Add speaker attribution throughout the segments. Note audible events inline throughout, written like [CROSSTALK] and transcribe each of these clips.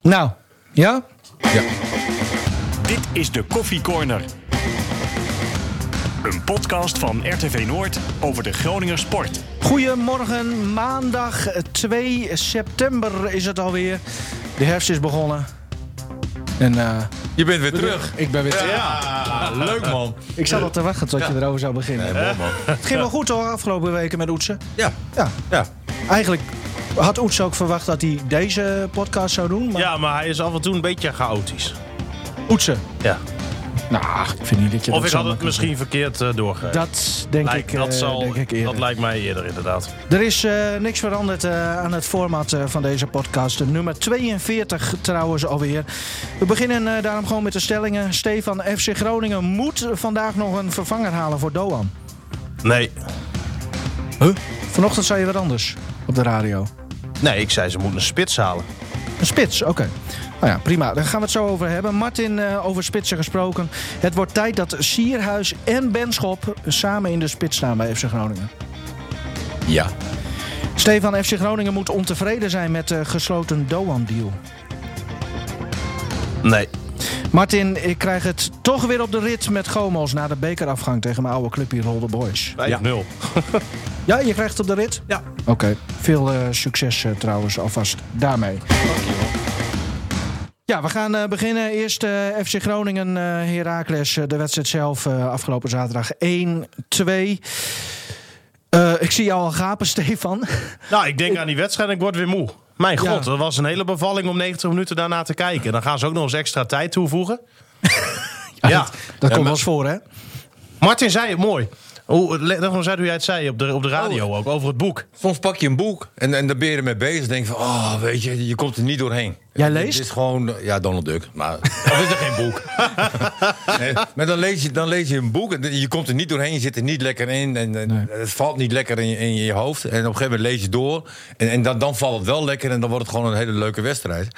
Speaker 1: Nou, ja?
Speaker 2: Dit is de Koffie Corner. Een podcast van RTV Noord over de Groninger sport.
Speaker 1: Goedemorgen, maandag 2 september is het alweer. De herfst is begonnen. En eh,
Speaker 3: Je bent weer terug.
Speaker 1: ik ben weer terug.
Speaker 3: Leuk man.
Speaker 1: Ik zat al te wachten tot je erover zou beginnen. Het ging wel goed hoor, afgelopen weken met Oetsen.
Speaker 3: Ja.
Speaker 1: Ja,
Speaker 3: Ja.
Speaker 1: eigenlijk had Oetsen ook verwacht dat hij deze podcast zou doen. Maar
Speaker 4: Ja, maar hij is af en toe een beetje chaotisch.
Speaker 1: Oetsen,
Speaker 4: Ja.
Speaker 1: nou, ik vind niet dat je
Speaker 4: Of
Speaker 1: dat
Speaker 4: ik
Speaker 1: zo
Speaker 4: had het
Speaker 1: makkelijk-
Speaker 4: misschien verkeerd eh doorgegeven.
Speaker 1: Dat denk
Speaker 4: Lijkt-
Speaker 1: ik,
Speaker 4: dat,
Speaker 1: eh,
Speaker 4: zal,
Speaker 1: denk ik eerder.
Speaker 4: dat lijkt mij eerder inderdaad.
Speaker 1: Er is eh, niks veranderd eh, aan het format eh, van deze podcast. De Nummer 42 trouwens alweer. We beginnen eh, daarom gewoon met de stellingen. Stefan, FC Groningen moet vandaag nog een vervanger halen voor Doan.
Speaker 4: Nee.
Speaker 1: Vanochtend zei je wat anders op de radio.
Speaker 4: Nee, ik zei ze moeten een spits halen.
Speaker 1: Een spits, oké. Nou ja, prima. Daar gaan we het zo over hebben. Martin, eh, over spitsen gesproken. Het wordt tijd dat Sierhuis en Benschop samen in de spits staan bij FC Groningen.
Speaker 3: Ja.
Speaker 1: Stefan, FC Groningen moet ontevreden zijn met de gesloten Doan-deal.
Speaker 4: Nee.
Speaker 1: Martin, ik krijg het toch weer op de rit met Gomos na de bekerafgang tegen mijn oude club hier, Rolde Boys.
Speaker 4: 5-0.
Speaker 1: Ja, je krijgt het op de rit?
Speaker 3: Ja.
Speaker 1: Oké. Veel eh, succes eh, trouwens alvast daarmee. Ja, we gaan eh, beginnen. Eerst eh, FC Groningen, eh, Heracles. eh, de wedstrijd zelf eh, afgelopen zaterdag 1-2. Eh, ik zie jou al gapen, [LAUGHS] Stefan.
Speaker 4: Nou, ik denk aan die wedstrijd en ik word weer moe. Mijn god,
Speaker 1: Ja.
Speaker 4: dat was een hele bevalling om 90 minuten daarna te kijken. Dan gaan ze ook nog eens extra tijd toevoegen. ja.
Speaker 1: Dat komt wel eens voor, hè?
Speaker 4: Martin zei het mooi. Hoe, leg nog eens uit hoe jij het zei op de, op de radio ook, over het boek.
Speaker 3: Soms pak je een boek en, en daar ben je ermee bezig. Denk van, oh, weet je, je komt er niet doorheen.
Speaker 1: Jij
Speaker 3: Het-
Speaker 1: leest?
Speaker 3: Het is gewoon, eh, ja, Donald Duck. Maar dat is er geen
Speaker 1: [LAUGHS]
Speaker 3: boek. nee, maar dan lees, je, dan lees je een boek en je komt er niet doorheen. Je zit er niet lekker in. En, en Het valt niet lekker in je, in je hoofd. En op een gegeven moment lees je door. En, en dan, dan valt het wel lekker. En dan wordt het gewoon een hele leuke wedstrijd.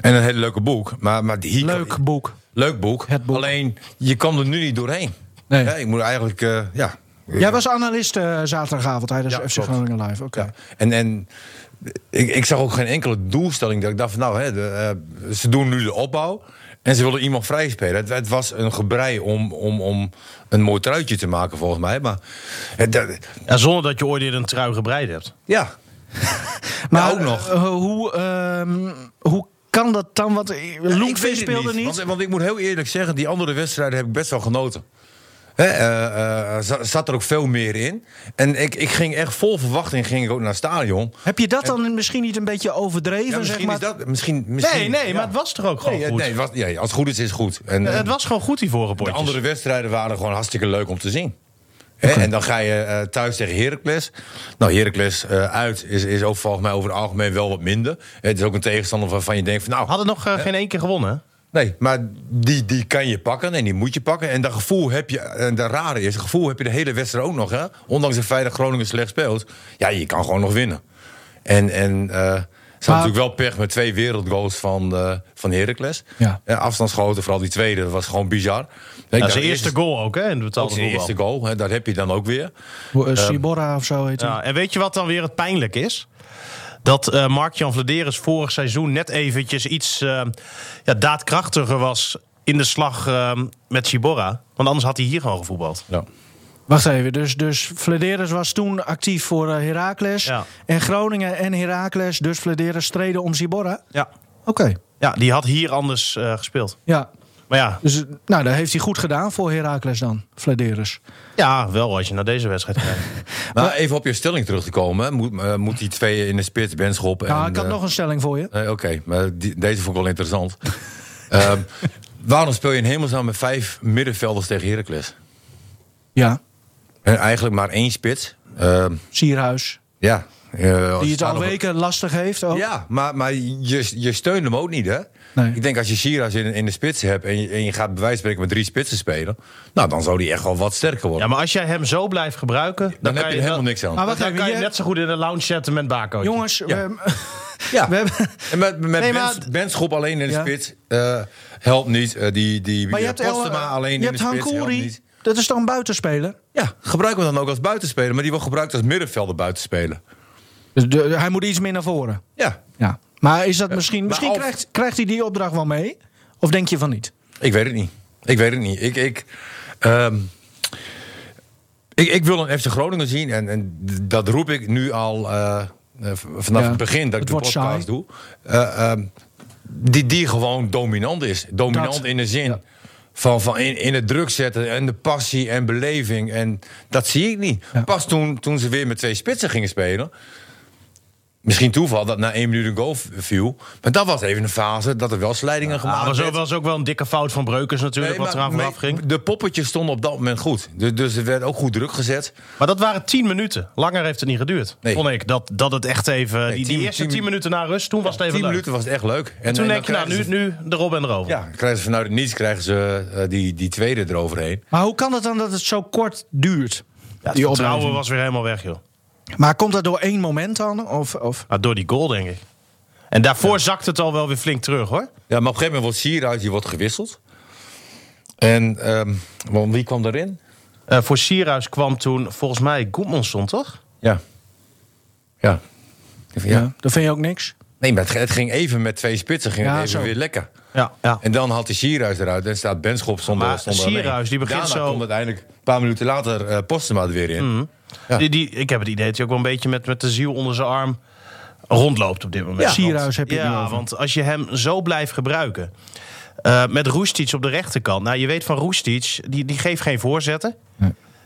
Speaker 3: En een hele leuke boek. Maar, maar hier,
Speaker 1: Leuk boek.
Speaker 3: Leuk boek.
Speaker 1: Het boek.
Speaker 3: Alleen, je kan er nu niet doorheen.
Speaker 1: Nee.
Speaker 3: Ja, ik moet eigenlijk, eh, ja.
Speaker 1: Jij was analist eh, zaterdagavond tijdens
Speaker 3: Ja,
Speaker 1: FC
Speaker 3: klopt.
Speaker 1: Groningen Live. Oké.
Speaker 3: Ja. En, en ik, ik zag ook geen enkele doelstelling. Dat ik dacht van nou, hè, de, eh, ze doen nu de opbouw. En ze wilden iemand vrij spelen. Het, het was een gebrei om, om, om een mooi truitje te maken, volgens mij. Maar het, dat-
Speaker 4: En zonder dat je ooit eerder een trui gebreid hebt.
Speaker 3: ja,
Speaker 1: Maar
Speaker 3: Ja, Nou, ook nog.
Speaker 1: eh, hoe, ehm, hoe kan dat dan? Want
Speaker 3: ik
Speaker 1: Loenvin
Speaker 3: weet het
Speaker 1: speelde niet.
Speaker 3: Want, eh, want ik moet heel eerlijk zeggen, die andere wedstrijden heb ik best wel genoten. Hè, eh, eh, za- zat er ook veel meer in. En ik, ik ging echt vol verwachting ging ik ook naar het stadion.
Speaker 1: Heb je dat dan misschien niet een beetje overdreven?
Speaker 3: Ja,
Speaker 1: zeg
Speaker 3: misschien
Speaker 1: maar?
Speaker 3: is dat... Misschien, misschien,
Speaker 4: Nee, nee,
Speaker 3: ja.
Speaker 4: maar het was toch ook gewoon
Speaker 3: Nee, eh,
Speaker 4: goed?
Speaker 3: nee, wat, ja, als het goed is, is het goed. En,
Speaker 4: Eh,
Speaker 3: en-
Speaker 4: Het was gewoon goed die vorige potjes.
Speaker 3: De andere wedstrijden waren gewoon hartstikke leuk om te zien. Hè, En dan ga je eh, thuis tegen Heracles. Nou, Heracles eh, uit is, is ook volgens mij over het algemeen wel wat minder. Het is ook een tegenstander waarvan je denkt van... nou,
Speaker 4: Hadden nog eh, geen één keer gewonnen. hè?
Speaker 3: nee, maar die, die kan je pakken en die moet je pakken. En dat gevoel heb je, en dat rare is, dat gevoel heb je de hele wedstrijd ook nog. Hè? Ondanks het feit dat Groningen slecht speelt. Ja, je kan gewoon nog winnen. En, en eh, ze
Speaker 1: Maar-
Speaker 3: hadden natuurlijk wel pech met twee wereldgoals van, eh van Heracles.
Speaker 1: Ja.
Speaker 3: afstandsschoten, vooral die tweede, dat was gewoon bizar. Ik
Speaker 4: Ja,
Speaker 3: dacht
Speaker 4: zijn
Speaker 3: eerst-
Speaker 4: eerste goal ook, hè? In de
Speaker 3: dat
Speaker 4: betaalde
Speaker 3: is de
Speaker 4: voetbal.
Speaker 3: eerste goal, hè, dat heb je dan ook weer.
Speaker 1: Hoe, eh,
Speaker 3: Ehm,
Speaker 1: Sibora of zo heet hij.
Speaker 4: Ja, en weet je wat dan weer het pijnlijk is? Dat eh, Mark-Jan Vladeris vorig seizoen net eventjes iets eh, ja, daadkrachtiger was in de slag eh, met Ciborra. Want anders had hij hier gewoon gevoetbald.
Speaker 3: Ja.
Speaker 1: Wacht even. Dus, dus Flederis was toen actief voor eh, Heracles.
Speaker 4: Ja.
Speaker 1: En Groningen en Heracles. Dus Flederis streden om Sibora.
Speaker 4: Ja.
Speaker 1: Oké.
Speaker 4: ja, die had hier anders eh, gespeeld.
Speaker 1: Ja.
Speaker 4: Maar ja,
Speaker 1: Dus eh, nou, dat heeft hij goed gedaan voor Heracles dan. Flederis.
Speaker 4: ja, wel als je naar deze wedstrijd
Speaker 3: [LAUGHS]
Speaker 4: kijkt.
Speaker 3: Maar even op je stelling terug te komen. hè. Moet, eh, moet die twee in de spits, Benschop en...
Speaker 1: Nou, ik had
Speaker 3: eh,
Speaker 1: nog een stelling voor je.
Speaker 3: nee, Oké, maar die- deze vond ik wel interessant. [LAUGHS] Ehm, waarom speel je in hemelsnaam met vijf middenvelders tegen Heracles?
Speaker 1: Ja.
Speaker 3: En eigenlijk maar één spits. Ehm,
Speaker 1: Sierhuis.
Speaker 3: ja. eh,
Speaker 1: Die het
Speaker 3: staan
Speaker 1: al
Speaker 3: nog-
Speaker 1: weken lastig heeft. Ook.
Speaker 3: Ja, maar, maar je, je steunt hem ook niet, hè?
Speaker 1: Nee.
Speaker 3: Ik denk als je Shiraz in, in de spits hebt en je, en je gaat bij wijze van spreken met drie spitsen spelen... nou, dan zou die echt wel wat sterker worden.
Speaker 4: Ja, maar als jij hem zo blijft gebruiken, dan,
Speaker 3: dan,
Speaker 4: kan
Speaker 3: heb je
Speaker 4: je
Speaker 3: er helemaal
Speaker 4: dan-
Speaker 3: niks aan.
Speaker 1: Maar wacht
Speaker 4: Dan
Speaker 1: even,
Speaker 4: kan je
Speaker 1: jij-
Speaker 4: net zo goed in de lounge zetten met Bako.
Speaker 1: Jongens,
Speaker 3: Ja.
Speaker 1: we, [LAUGHS]
Speaker 3: Ja.
Speaker 1: we hebben...
Speaker 3: En met, met
Speaker 1: Nee, maar-
Speaker 3: Bens, Benschop alleen in de
Speaker 1: Ja.
Speaker 3: spits eh, helpt niet. Eh, die die
Speaker 1: Maar je
Speaker 3: eh,
Speaker 1: hebt, El,
Speaker 3: Postema alleen
Speaker 1: je
Speaker 3: in de
Speaker 1: hebt
Speaker 3: spits helpt
Speaker 1: Hankouri.
Speaker 3: niet.
Speaker 1: Dat is toch een buitenspeler?
Speaker 3: Ja, gebruiken we dan ook als buitenspeler. Maar die wordt gebruikt als middenvelder buitenspeler.
Speaker 1: Dus de- hij moet iets meer naar voren.
Speaker 3: Ja.
Speaker 1: Ja. Maar is dat
Speaker 3: Eh,
Speaker 1: misschien. Misschien
Speaker 3: Alf-
Speaker 1: krijgt, krijgt hij die opdracht wel mee? Of denk je van niet?
Speaker 3: Ik weet het niet. Ik weet het niet. Ik, ik, ehm, ik, ik wil een FC Groningen zien. En, en d- dat roep ik nu al eh, eh, v- vanaf
Speaker 1: Ja,
Speaker 3: het begin dat
Speaker 1: het
Speaker 3: ik de
Speaker 1: wordt saai.
Speaker 3: podcast doe. Eh, ehm, die, die gewoon dominant is. Dominant
Speaker 1: Dat-
Speaker 3: in de zin van, van in, in het druk zetten en de passie en beleving. En dat zie ik niet.
Speaker 1: Ja.
Speaker 3: Pas toen, toen ze weer met twee spitsen gingen spelen. Misschien toeval dat na één minuut een goal v- viel. Maar dat was even een fase dat er wel slijdingen
Speaker 4: Maar
Speaker 3: gemaakt
Speaker 4: Ah, was ook,
Speaker 3: werden.
Speaker 4: was ook wel een dikke fout van Breukers natuurlijk,
Speaker 3: Nee,
Speaker 4: wat
Speaker 3: maar
Speaker 4: eraan vooraf
Speaker 3: mee-
Speaker 4: ging.
Speaker 3: De poppetjes stonden op dat moment goed. Dus, dus er werd ook goed druk gezet.
Speaker 4: Maar dat waren tien minuten. Langer heeft het niet geduurd.
Speaker 3: Nee.
Speaker 4: Vond ik dat, dat het echt even. die, die
Speaker 3: tien-
Speaker 4: eerste tien,
Speaker 3: tien-
Speaker 4: minuten na rust, toen was het even.
Speaker 3: Tien
Speaker 4: leuk.
Speaker 3: minuten was het echt leuk. En,
Speaker 4: Toen
Speaker 3: en
Speaker 4: denk je,
Speaker 3: dan
Speaker 4: nou, nu,
Speaker 3: krijgen
Speaker 4: nu erop en erover.
Speaker 3: ze- Ja, dan krijgen ze vanuit het niets krijgen ze eh, die, die tweede eroverheen.
Speaker 1: Maar hoe kan het dan dat het zo kort duurt?
Speaker 4: het vertrouwen
Speaker 1: opleving?
Speaker 4: was weer helemaal weg, joh.
Speaker 1: Maar komt dat door één moment dan? Of, of?
Speaker 4: Maar door die goal, denk ik. En daarvoor zakt het al wel weer flink terug, hoor.
Speaker 3: Ja, maar op een gegeven moment wordt Sierhuis die wordt gewisseld. En ehm, want wie kwam daarin?
Speaker 4: Eh, voor Sierhuis kwam toen volgens mij Goedmanson, toch?
Speaker 3: Ja. Ja. Ja.
Speaker 1: Dan vind je ook niks.
Speaker 3: Nee, maar het, het ging even met twee spitsen. Ging
Speaker 1: Ja,
Speaker 3: het even
Speaker 1: zo.
Speaker 3: weer lekker.
Speaker 4: Ja. ja.
Speaker 3: En dan haalt de Sierhuis eruit en staat Benschop zonder...
Speaker 4: Maar
Speaker 3: zonder
Speaker 4: Sierhuis,
Speaker 3: alleen.
Speaker 4: die begint
Speaker 3: Daarna
Speaker 4: zo-
Speaker 3: komt uiteindelijk een paar minuten later eh Postema er weer in. Ja.
Speaker 4: Die, die, ik heb het idee dat hij ook wel een beetje met, met de ziel onder zijn arm rondloopt op dit moment.
Speaker 1: Ja.
Speaker 4: Want-
Speaker 1: Sierhuis heb je het nu
Speaker 4: Ja,
Speaker 1: over.
Speaker 4: want als je hem zo blijft gebruiken. eh, met Roestic op de rechterkant. Nou, je weet van Roestic, die, die geeft geen voorzetten.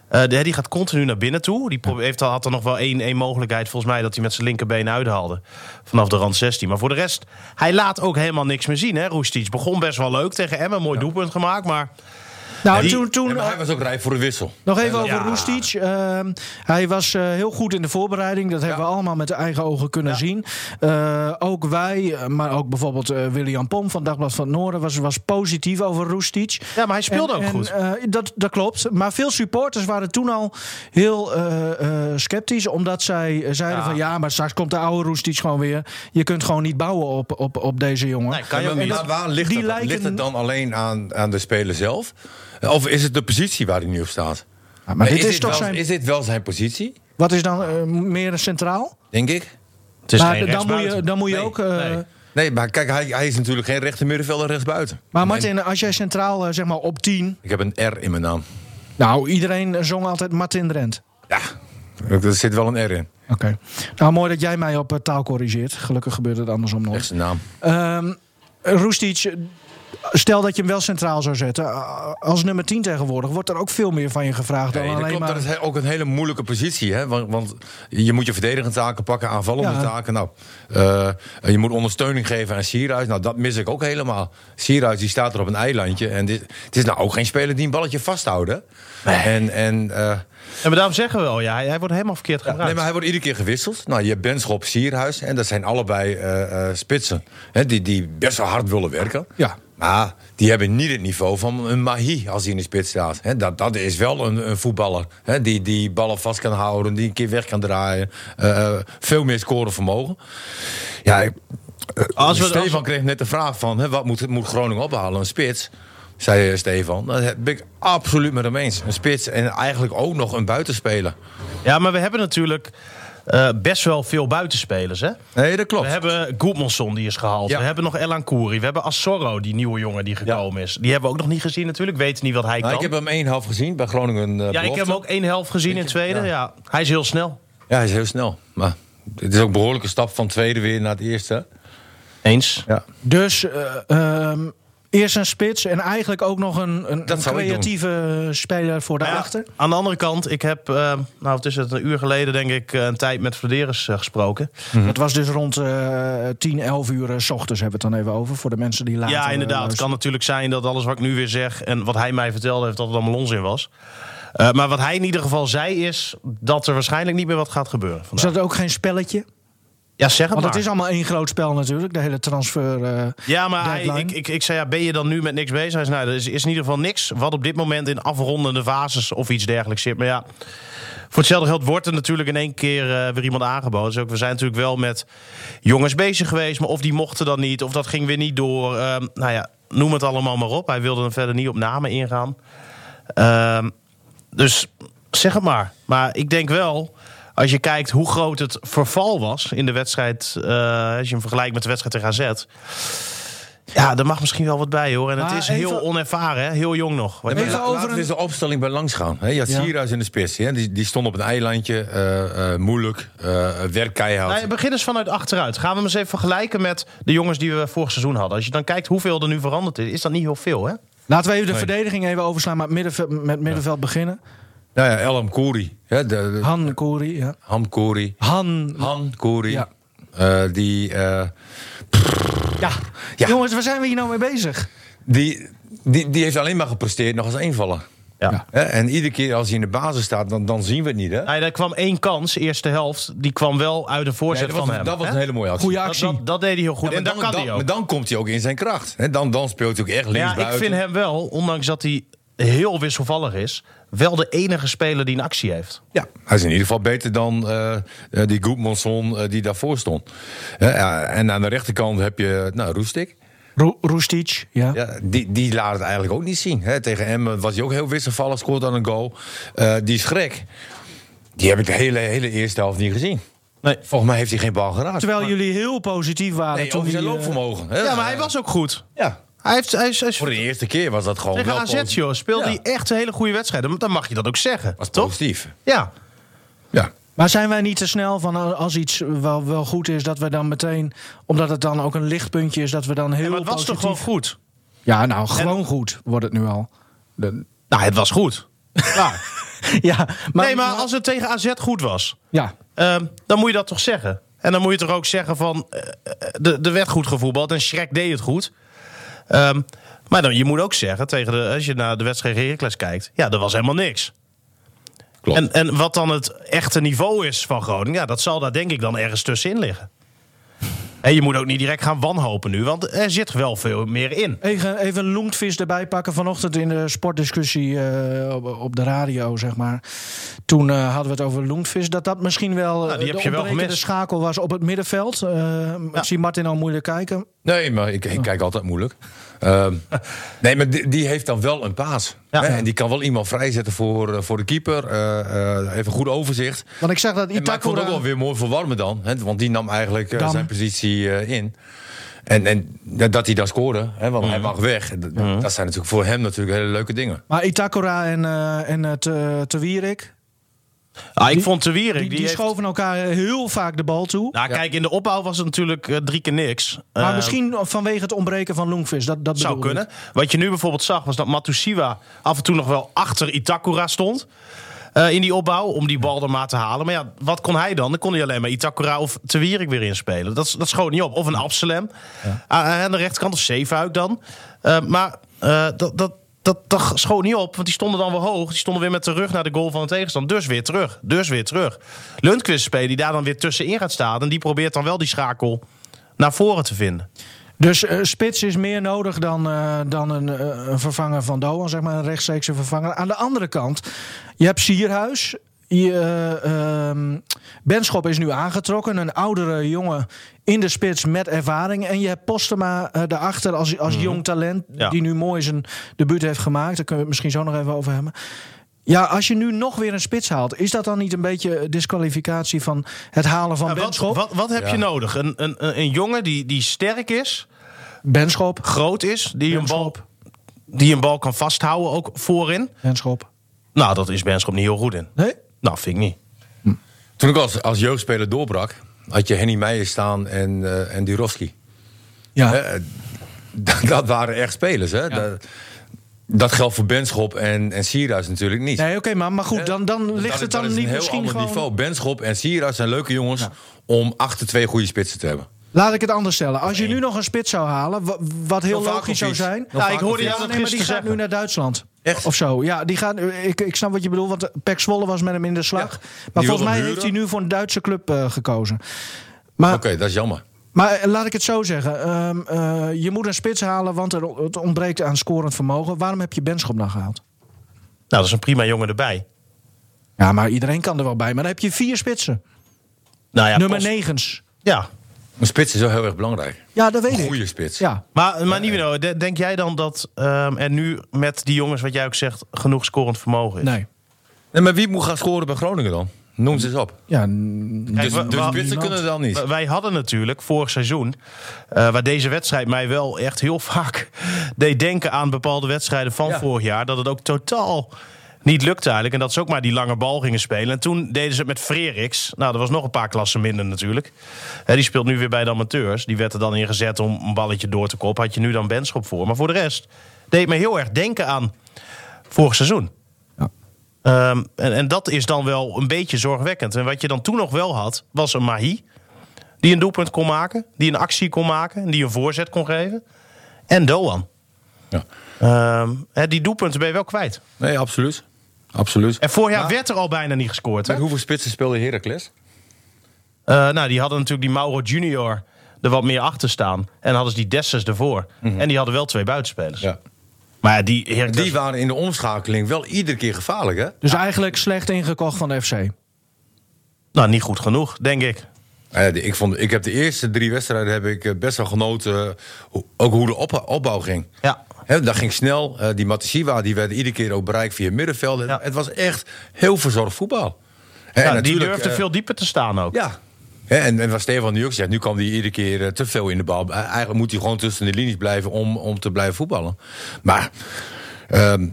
Speaker 4: Eh, de- die gaat continu naar binnen toe. Die probe- heeft al, had er nog wel één, één mogelijkheid, volgens mij, dat hij met zijn linkerbeen uithaalde. Vanaf de rand 16. Maar voor de rest, hij laat ook helemaal niks meer zien. Hè? Roestic begon best wel leuk tegen Emmen. Mooi doelpunt gemaakt. Maar
Speaker 1: Nou,
Speaker 4: die-
Speaker 1: toen, toen,
Speaker 3: Ja, maar hij was ook rijp voor de wissel.
Speaker 1: Nog even over
Speaker 4: Ja.
Speaker 1: Roestic. Ehm, hij was eh, heel goed in de voorbereiding. Dat hebben we allemaal met de eigen ogen kunnen zien. Eh, ook wij, eh, maar ook bijvoorbeeld eh, William Pom van Dagblad van het Noorden... was, was positief over Roestic.
Speaker 4: ja, maar hij speelde
Speaker 1: En-
Speaker 4: ook
Speaker 1: en,
Speaker 4: goed.
Speaker 1: eh, dat, dat klopt. Maar veel supporters waren toen al heel eh, eh, sceptisch. Omdat zij eh, zeiden
Speaker 4: Ja.
Speaker 1: van... ja, maar straks komt de oude Roestic gewoon weer. Je kunt gewoon niet bouwen op, op, op deze jongen.
Speaker 4: Nee, kan je
Speaker 3: Ja,
Speaker 4: ook
Speaker 3: maar
Speaker 4: niet.
Speaker 3: waar- waar ligt,
Speaker 1: Die
Speaker 3: het,
Speaker 1: lijken-
Speaker 3: ligt het dan alleen aan, aan de speler zelf? Of is het de positie waar hij nu op staat?
Speaker 1: Ja, Ah, maar dit is, toch
Speaker 3: wel,
Speaker 1: zijn...
Speaker 3: Is dit wel zijn positie,
Speaker 1: Wat is dan eh, meer centraal?
Speaker 3: denk ik?
Speaker 4: Het is
Speaker 1: Maar
Speaker 4: geen
Speaker 1: dan, moet je,
Speaker 4: rechtsbuiten.
Speaker 1: dan moet je
Speaker 3: Nee,
Speaker 1: ook... eh,
Speaker 4: nee.
Speaker 3: Nee, maar kijk, hij, hij is natuurlijk geen rechter middenvelder en rechtsbuiten.
Speaker 1: Maar Martin, als jij centraal eh, zeg maar op 10.
Speaker 3: Ik heb een R in mijn naam.
Speaker 1: Nou, iedereen eh, zong altijd Martin Drent.
Speaker 3: Ja, er zit wel een R in.
Speaker 1: Oké. Nou, mooi dat jij mij op eh, taal corrigeert. Gelukkig gebeurt het andersom
Speaker 3: Echt
Speaker 1: nooit.
Speaker 3: zijn naam.
Speaker 1: Ehm Roestic, eh, stel dat je hem wel centraal zou zetten. eh, Als nummer 10 tegenwoordig wordt er ook veel meer van je gevraagd
Speaker 3: Nee,
Speaker 1: dan
Speaker 3: dat
Speaker 1: alleen
Speaker 3: klopt.
Speaker 1: maar...
Speaker 3: Dat is he- ook een hele moeilijke positie. Hè? Want, want je moet je verdedigende taken pakken, aanvallende
Speaker 1: Ja.
Speaker 3: taken. Nou, eh, je moet ondersteuning geven aan Sierhuis. Nou, dat mis ik ook helemaal. Sierhuis die staat er op een eilandje. En dit, het is nou ook geen speler die een balletje vasthoudt. hè. En, en, eh,
Speaker 4: En maar daarom zeggen we al, ja, hij, hij wordt helemaal verkeerd gebruikt.
Speaker 3: nee, maar hij wordt iedere keer gewisseld. Nou, je hebt Benschop, Sierhuis. En dat zijn allebei eh, eh, spitsen. Hè, die, die best wel hard willen werken.
Speaker 1: Ja.
Speaker 3: Maar die hebben niet het niveau van een Mahi als hij in de spits staat. Hè, dat, dat is wel een, een voetballer. hè, die, die ballen vast kan houden, die een keer weg kan draaien. eh, veel meer scoren vermogen. Ja, ik- eh,
Speaker 4: Als we-
Speaker 3: Stefan
Speaker 4: als we-
Speaker 3: kreeg net de vraag van... Hè, wat moet, moet Groningen ophalen? Een spits, zei eh, Stefan. Daar ben ik absoluut met hem eens. Een spits en eigenlijk ook nog een buitenspeler.
Speaker 4: Ja, maar we hebben natuurlijk eh, best wel veel buitenspelers. Hè?
Speaker 3: Nee, dat
Speaker 4: We
Speaker 3: klopt.
Speaker 4: hebben Goedmanson die is gehaald.
Speaker 3: Ja.
Speaker 4: We hebben nog Elan Kouri. We hebben Assorro, die nieuwe jongen die gekomen is. Die hebben we ook nog niet gezien natuurlijk. Weten niet wat hij
Speaker 3: Nou,
Speaker 4: kan.
Speaker 3: ik heb hem één half gezien bij Groningen. eh,
Speaker 4: ja, ik
Speaker 3: belofte.
Speaker 4: heb hem ook één helft gezien in tweede. Ja.
Speaker 3: ja.
Speaker 4: Hij is heel snel.
Speaker 3: Ja, hij is heel snel. Maar het is ook een behoorlijke stap van tweede weer naar het eerste.
Speaker 4: Eens.
Speaker 3: Ja.
Speaker 1: Dus eh, ehm, eerst een spits en eigenlijk ook nog een, een,
Speaker 3: Dat
Speaker 1: een
Speaker 3: zou ik doen.
Speaker 1: creatieve speler voor
Speaker 4: Maar ja,
Speaker 1: daarachter.
Speaker 4: aan de andere kant, ik heb, eh, nou het is het een uur geleden denk ik, eh, een tijd met Vladeris eh, gesproken.
Speaker 3: Mhm.
Speaker 1: Dat was dus rond eh 10, 11 uur eh, s ochtends hebben we het dan even over. Voor de mensen die later
Speaker 4: Ja,
Speaker 1: eh,
Speaker 4: inderdaad. Het
Speaker 1: luisteren.
Speaker 4: kan natuurlijk zijn dat alles wat ik nu weer zeg en wat hij mij vertelde heeft, dat het allemaal onzin was. Eh, maar wat hij in ieder geval zei is dat er waarschijnlijk niet meer wat gaat gebeuren.
Speaker 1: Is
Speaker 4: vandaag.
Speaker 1: dat ook geen spelletje?
Speaker 4: Ja, zeg het
Speaker 1: Want
Speaker 4: maar.
Speaker 1: het is allemaal één groot spel natuurlijk, de hele transfer. eh,
Speaker 4: ja, maar hij-
Speaker 1: deadline.
Speaker 4: ik, ik, ik zei, ja, ben je dan nu met niks bezig? Hij zei, nou, er is, is in ieder geval niks wat op dit moment in afrondende fases of iets dergelijks zit. Maar ja, voor hetzelfde geld wordt er natuurlijk in één keer eh, weer iemand aangeboden. Dus ook, we zijn natuurlijk wel met jongens bezig geweest, maar of die mochten dan niet, of dat ging weer niet door. Ehm, nou ja, noem het allemaal maar op. Hij wilde er verder niet op namen ingaan. Ehm, dus zeg het maar. Maar ik denk wel, Als je kijkt hoe groot het verval was in de wedstrijd. eh, als je hem vergelijkt met de wedstrijd tegen AZ. Ja, daar mag misschien wel wat bij hoor. En het
Speaker 1: Maar
Speaker 4: is heel
Speaker 1: even-
Speaker 4: onervaren, hè? heel jong nog. Wat-
Speaker 3: Nee,
Speaker 1: Even
Speaker 3: maar
Speaker 1: over
Speaker 3: laten we
Speaker 1: een-
Speaker 3: eens de opstelling bij langs gaan. Hè, je had
Speaker 1: Ja.
Speaker 3: Sierhuis in de spits. Hè? Die, die stond op een eilandje. eh, eh, moeilijk. eh werk keihard.
Speaker 4: Nou, begin eens vanuit achteruit. Gaan we hem eens even vergelijken met de jongens die we vorig seizoen hadden. Als je dan kijkt hoeveel er nu veranderd is, is dat niet heel veel, hè?
Speaker 1: Laten we even de
Speaker 3: Nee.
Speaker 1: verdediging even overslaan, maar het middenveld, met het middenveld beginnen.
Speaker 3: Nou ja, Elam Kouri. Hè? De, de-
Speaker 1: Han Kouri, ja.
Speaker 3: Ham Kouri.
Speaker 1: Han.
Speaker 3: Han Kouri.
Speaker 1: Ja.
Speaker 3: Eh, die, eh,
Speaker 1: Ja.
Speaker 3: Ja.
Speaker 1: Jongens, waar zijn we hier nou mee bezig?
Speaker 3: die, die, die heeft alleen maar gepresteerd nog als invaller.
Speaker 4: Ja.
Speaker 3: Hè, en iedere keer als hij in de basis staat, dan, dan zien we het niet. Hè?
Speaker 4: Nou ja, er kwam één kans, eerste helft. Die kwam wel uit een
Speaker 3: Nee,
Speaker 4: voorzet
Speaker 3: dat was,
Speaker 4: van hem.
Speaker 3: dat was
Speaker 4: hè?
Speaker 3: een hele mooie actie.
Speaker 1: Goeie
Speaker 4: dat,
Speaker 1: actie.
Speaker 4: dat, dat deed hij heel goed.
Speaker 3: Ja,
Speaker 4: en
Speaker 3: maar
Speaker 4: dat kan
Speaker 3: dan,
Speaker 4: hij
Speaker 3: dan-
Speaker 4: ook.
Speaker 3: Maar dan komt hij ook in zijn kracht. Hè? Dan, dan speelt hij ook echt links
Speaker 4: ja, ik
Speaker 3: buiten.
Speaker 4: vind hem wel, ondanks dat hij heel wisselvallig is, wel de enige speler die een actie heeft.
Speaker 3: Ja, hij is in ieder geval beter dan eh, eh, die Goedmanson eh, die daarvoor stond. Hè, ja, en aan de rechterkant heb je nou, Roestik.
Speaker 1: Ro Roestic, ja.
Speaker 3: Ja, die, die laat het eigenlijk ook niet zien. Hè. Tegen hem eh, was hij ook heel wisselvallig, scoort aan een goal. Eh, die Schrek, die heb ik de hele, hele eerste helft niet gezien.
Speaker 4: Nee.
Speaker 3: Volgens mij heeft hij geen bal geraakt.
Speaker 1: Terwijl jullie heel positief waren
Speaker 3: nee,
Speaker 4: oh,
Speaker 1: toen
Speaker 3: over zijn
Speaker 1: die, eh,
Speaker 3: loopvermogen. hè.
Speaker 4: Ja, maar hij was ook goed.
Speaker 3: Ja,
Speaker 4: Hij heeft, hij is, hij is-
Speaker 3: voor de eerste keer was dat gewoon
Speaker 4: tegen
Speaker 3: wel
Speaker 4: AZ,
Speaker 3: positief.
Speaker 4: joh, speelde
Speaker 3: Ja.
Speaker 4: hij echt een hele goede wedstrijd. Dan mag je dat ook zeggen,
Speaker 3: Was
Speaker 4: toch?
Speaker 3: positief.
Speaker 4: Ja.
Speaker 3: Ja.
Speaker 1: Maar zijn wij niet te snel van eh, als iets wel, wel goed is, dat we dan meteen, omdat het dan ook een lichtpuntje is, dat we dan heel
Speaker 4: maar het was toch
Speaker 1: positief...
Speaker 4: gewoon goed?
Speaker 1: Ja, nou, gewoon goed wordt het nu al.
Speaker 4: [LAUGHS] Nou, het was goed.
Speaker 1: Ja, maar,
Speaker 4: nee, maar als het tegen AZ goed was,
Speaker 1: Ja,
Speaker 4: ehm, dan moet je dat toch zeggen. En dan moet je toch ook zeggen van, eh, eh, de, de werd goed gevoetbald en Schrek deed het goed. Ehm, maar dan, je moet ook zeggen, tegen de, als je naar de wedstrijd tegen Heracles kijkt, ja, er was helemaal niks.
Speaker 3: Klopt.
Speaker 4: En, en wat dan het echte niveau is van Groningen, ja, dat zal daar denk ik dan ergens tussenin liggen. [LAUGHS] En je moet ook niet direct gaan wanhopen nu, want er zit wel veel meer in.
Speaker 1: even, even Loentvis erbij pakken. Vanochtend in de sportdiscussie eh, op, op de radio, zeg maar. Toen eh, hadden we het over Loentvis. Dat dat misschien wel eh,
Speaker 4: die heb
Speaker 1: de
Speaker 4: je wel
Speaker 1: ontbrekende
Speaker 4: gemist.
Speaker 1: schakel was op het middenveld. Eh, Ik zie Martin al moeilijk kijken.
Speaker 3: Nee, maar ik, ik kijk altijd moeilijk. Ehm, [LAUGHS] nee, maar die, die heeft dan wel een paas.
Speaker 4: Ja.
Speaker 3: Hè, En die kan wel iemand vrijzetten voor, eh, voor de keeper. eh, eh, heeft een goed overzicht.
Speaker 1: Want ik zag dat
Speaker 3: En, maar ik vond het ook wel
Speaker 1: Itakura...
Speaker 3: weer mooi voor Warme dan. Hè, want die nam eigenlijk eh,
Speaker 1: Dam.
Speaker 3: zijn positie eh, in. En, en ja, dat hij daar scoorde, hè, want hij mag weg. D- Dat zijn natuurlijk voor hem natuurlijk hele leuke dingen.
Speaker 1: Maar Itakura en, eh en eh, te, te Wierik,
Speaker 4: Ah, ik vond de Wierik,
Speaker 1: die,
Speaker 4: die,
Speaker 1: die,
Speaker 4: heeft-
Speaker 1: schoven elkaar heel vaak de bal toe.
Speaker 4: Nou, kijk, in de opbouw was het natuurlijk eh, drie keer niks.
Speaker 1: maar
Speaker 4: Eh,
Speaker 1: misschien vanwege het ontbreken van Loentvis. Dat, dat
Speaker 4: zou
Speaker 1: bedoelde ik.
Speaker 4: kunnen. Wat je nu bijvoorbeeld zag, was dat Matusiwa af en toe nog wel achter Itakura stond. eh, in die opbouw, om die bal er maar te halen. Maar ja, wat kon hij dan? Dan kon hij alleen maar Itakura of Te Wierik weer inspelen. Dat, dat schoot niet op. Of een Absalem Ah, aan de rechterkant, of Zeefuik dan. Eh, maar eh, dat, dat, dat, dat schoot niet op, want die stonden dan weer hoog. Die stonden weer met de rug naar de goal van de tegenstander. Dus weer terug, dus weer terug. Lundqvist spelen, die daar dan weer tussenin gaat staan. En die probeert dan wel die schakel naar voren te vinden.
Speaker 1: Dus eh, spits is meer nodig dan, eh, dan een, eh, een vervanger van Doan, zeg maar een rechtstreekse vervanger. Aan de andere kant, je hebt Sierhuis. Je, eh, ehm, Benschop is nu aangetrokken, een oudere jongen in de spits met ervaring. En je hebt Postema eh, daarachter als, als jong talent,
Speaker 4: Mhm. Ja.
Speaker 1: die nu mooi zijn debuut heeft gemaakt. Daar kunnen we het misschien zo nog even over hebben. Ja, als je nu nog weer een spits haalt, is dat dan niet een beetje disqualificatie van het halen van
Speaker 4: Ja, wat,
Speaker 1: Benschop?
Speaker 4: wat, wat heb je nodig? Een, een, een een jongen die, die sterk is,
Speaker 1: Benschop,
Speaker 4: groot is, die een, bal,
Speaker 1: Benschop.
Speaker 4: die een bal kan vasthouden ook voorin.
Speaker 1: Benschop.
Speaker 4: Nou, dat is Benschop niet heel goed in.
Speaker 1: Nee?
Speaker 4: Nou, vind ik niet.
Speaker 3: Toen ik als, als jeugdspeler doorbrak, had je Henny Meijer staan en, eh en Durovski.
Speaker 1: Ja.
Speaker 3: Hè, eh, [LAUGHS] dat- dat waren echt spelers. Hè? Dat, dat geldt voor Benschop en, en Sierhuis natuurlijk niet.
Speaker 1: Nee, oké, maar, maar goed, dan, dan
Speaker 3: Dat
Speaker 1: ligt
Speaker 3: Eh, is-
Speaker 1: het
Speaker 3: dat
Speaker 1: dan
Speaker 3: is een
Speaker 1: niet
Speaker 3: heel
Speaker 1: misschien
Speaker 3: ander
Speaker 1: gewoon...
Speaker 3: niveau. Benschop en Sierhuis zijn leuke jongens om achter twee goede spitsen te hebben.
Speaker 1: Laat ik het anders stellen. Als je nu nog een spits zou halen, wa- wat heel
Speaker 3: Nog
Speaker 1: logisch zou
Speaker 3: Vakovic.
Speaker 1: zijn...
Speaker 3: Nog
Speaker 4: Ja, ik hoorde
Speaker 3: Vakovic.
Speaker 4: jou
Speaker 1: Ja,
Speaker 4: dat
Speaker 1: nee, maar die
Speaker 4: gisteren
Speaker 1: gaat nu
Speaker 4: zeggen.
Speaker 1: naar Duitsland.
Speaker 3: Echt?
Speaker 1: Of zo. Ja, die gaat, ik, ik snap wat je bedoelt, want eh, Pek Zwolle was met hem in de slag.
Speaker 3: Die
Speaker 1: maar
Speaker 3: wilde
Speaker 1: volgens mij
Speaker 3: hem
Speaker 1: heeft hij
Speaker 3: huren.
Speaker 1: nu voor een Duitse club eh, gekozen. Maar,
Speaker 3: Oké, dat is jammer.
Speaker 1: maar eh, laat ik het zo zeggen. Ehm, eh, je moet een spits halen, want er, het ontbreekt aan scorend vermogen. Waarom heb je Benschop dan gehaald?
Speaker 4: Nou, dat is een prima jongen erbij.
Speaker 1: Ja, maar iedereen kan er wel bij. Maar dan heb je vier spitsen.
Speaker 4: Nou ja,
Speaker 1: Nummer
Speaker 4: Post-
Speaker 1: negens.
Speaker 4: Ja.
Speaker 3: Een spits is wel heel erg belangrijk.
Speaker 1: Ja, dat weet
Speaker 3: Een
Speaker 1: ik.
Speaker 3: goede spits.
Speaker 1: Ja,
Speaker 4: Maar, maar Nivino, de- denk jij dan dat ehm, er nu met die jongens, wat jij ook zegt, genoeg scorend vermogen is?
Speaker 1: nee.
Speaker 3: Nee, maar wie moet gaan scoren bij Groningen dan? Noem ze eens op.
Speaker 1: Ja, n-
Speaker 3: Dus,
Speaker 4: we-
Speaker 3: dus
Speaker 4: we hadden
Speaker 3: spitsen
Speaker 1: niemand.
Speaker 3: kunnen het dan niet.
Speaker 4: W- Wij hadden natuurlijk vorig seizoen, eh, waar deze wedstrijd mij wel echt heel [LAUGHS] vaak deed denken aan bepaalde wedstrijden van
Speaker 3: Ja.
Speaker 4: vorig jaar, dat het ook totaal niet lukte eigenlijk. En dat ze ook maar die lange bal gingen spelen. En toen deden ze het met Freriks. Nou, dat was nog een paar klassen minder natuurlijk. Hè, die speelt nu weer bij de amateurs. Die werd er dan ingezet om een balletje door te koppen. Had je nu dan Benschop voor. Maar voor de rest deed het me heel erg denken aan vorig seizoen.
Speaker 1: Ja.
Speaker 4: Ehm, en, en dat is dan wel een beetje zorgwekkend. En wat je dan toen nog wel had, was een Mahi. Die een doelpunt kon maken. Die een actie kon maken. en Die een voorzet kon geven. En Doan.
Speaker 3: Ja.
Speaker 4: Ehm, hè, die doelpunten ben je wel kwijt.
Speaker 3: Nee, absoluut. Absoluut.
Speaker 4: En vorig jaar
Speaker 3: Maar-
Speaker 4: werd er al bijna niet gescoord. Hè?
Speaker 3: Met hoeveel spitsen speelde Heracles?
Speaker 4: Eh, nou, die hadden natuurlijk die Mauro Junior er wat meer achter staan. En hadden ze die Dessers ervoor. En die hadden wel twee buitenspelers.
Speaker 3: Mhm. Ja.
Speaker 4: Maar ja, die, Heracles-
Speaker 3: Die waren in de omschakeling wel iedere keer gevaarlijk, hè?
Speaker 1: Dus eigenlijk slecht ingekocht van de FC.
Speaker 4: Nou, niet goed genoeg, denk ik.
Speaker 3: Nou ja, die- ik, vond, ik heb de eerste drie wedstrijden heb ik eh, best wel genoten. eh, hoe- Ook hoe de op- opbouw ging.
Speaker 4: Ja.
Speaker 3: Hè, dat ging snel. Eh, die Matasiwa die werd iedere keer ook bereikt via middenvelden.
Speaker 4: Ja.
Speaker 3: Het was echt heel verzorgd voetbal. Hè,
Speaker 4: Ja,
Speaker 3: en
Speaker 4: die
Speaker 3: natuurlijk,
Speaker 4: durfde
Speaker 3: eh,
Speaker 4: veel dieper te staan ook.
Speaker 3: Ja. Hè, en, en wat Stefan nu ook zegt, nu kwam hij iedere keer eh, te veel in de bal. Eh, Eigenlijk moet hij gewoon tussen de linies blijven om, om te blijven voetballen. Maar ehm,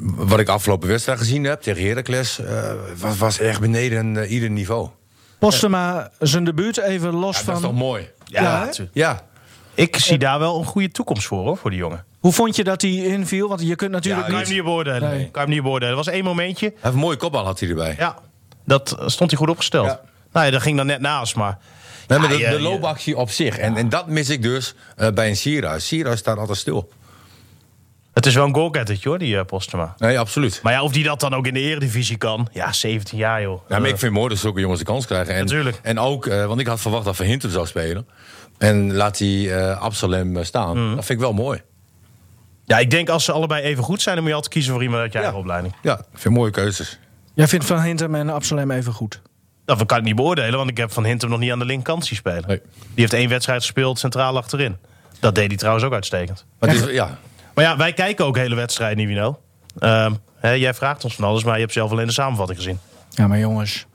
Speaker 3: wat ik afgelopen wedstrijd gezien heb tegen Heracles... eh, was, was echt beneden eh, ieder niveau.
Speaker 1: Postema, zijn debuut even los
Speaker 3: Ja, dat
Speaker 1: van...
Speaker 3: is toch mooi?
Speaker 4: Ja,
Speaker 1: Ja, hè?
Speaker 4: natuurlijk.
Speaker 3: Ja.
Speaker 4: Ik zie daar wel een goede toekomst voor, hoor, voor die jongen.
Speaker 1: Hoe vond je dat hij inviel? Want je kunt natuurlijk
Speaker 4: Kan je
Speaker 1: niet...
Speaker 4: hem niet beoordelen.
Speaker 1: Nee.
Speaker 4: Kan je hem niet beoordelen. Er was één momentje,
Speaker 3: Hij heeft een mooie kopbal had hij erbij.
Speaker 4: ja, dat eh, stond hij goed opgesteld.
Speaker 3: Ja.
Speaker 4: Nou ja, dat ging dan net naast, maar...
Speaker 3: Nee, maar
Speaker 4: Ja,
Speaker 3: de,
Speaker 4: je-
Speaker 3: de loopactie op zich. En, en dat mis ik dus eh, bij een Sierhuis. Sierhuis staat altijd stil.
Speaker 4: Het is wel een goalgettertje, hoor, die eh, Postema.
Speaker 3: Nee, absoluut.
Speaker 4: Maar ja, of die dat dan ook in de eredivisie kan. Ja, 17 jaar, joh. Eh,
Speaker 3: Ja, maar ik vind het mooi dat zulke jongens de kans krijgen. En,
Speaker 4: Natuurlijk.
Speaker 3: En ook, eh, want ik had verwacht dat Van Hintem zou spelen. En laat die eh Absalem eh, staan. Dat vind ik wel mooi.
Speaker 4: Ja, ik denk als ze allebei even goed zijn... dan moet je altijd kiezen voor iemand uit je eigen opleiding.
Speaker 3: Ja, ik vind mooie keuzes.
Speaker 1: Jij vindt Van Hintem en Absalem even goed.
Speaker 4: Dat kan ik niet beoordelen, want ik heb Van Hintem nog niet aan de linkerkant zien spelen.
Speaker 3: Nee.
Speaker 4: Die heeft één wedstrijd gespeeld, centraal achterin. Dat deed hij trouwens ook uitstekend.
Speaker 3: Maar het is, ja,
Speaker 4: Maar ja, wij kijken ook hele wedstrijden, Nivino. Ehm hè, jij vraagt ons van alles, maar je hebt zelf alleen de samenvatting gezien.
Speaker 1: Ja, maar jongens.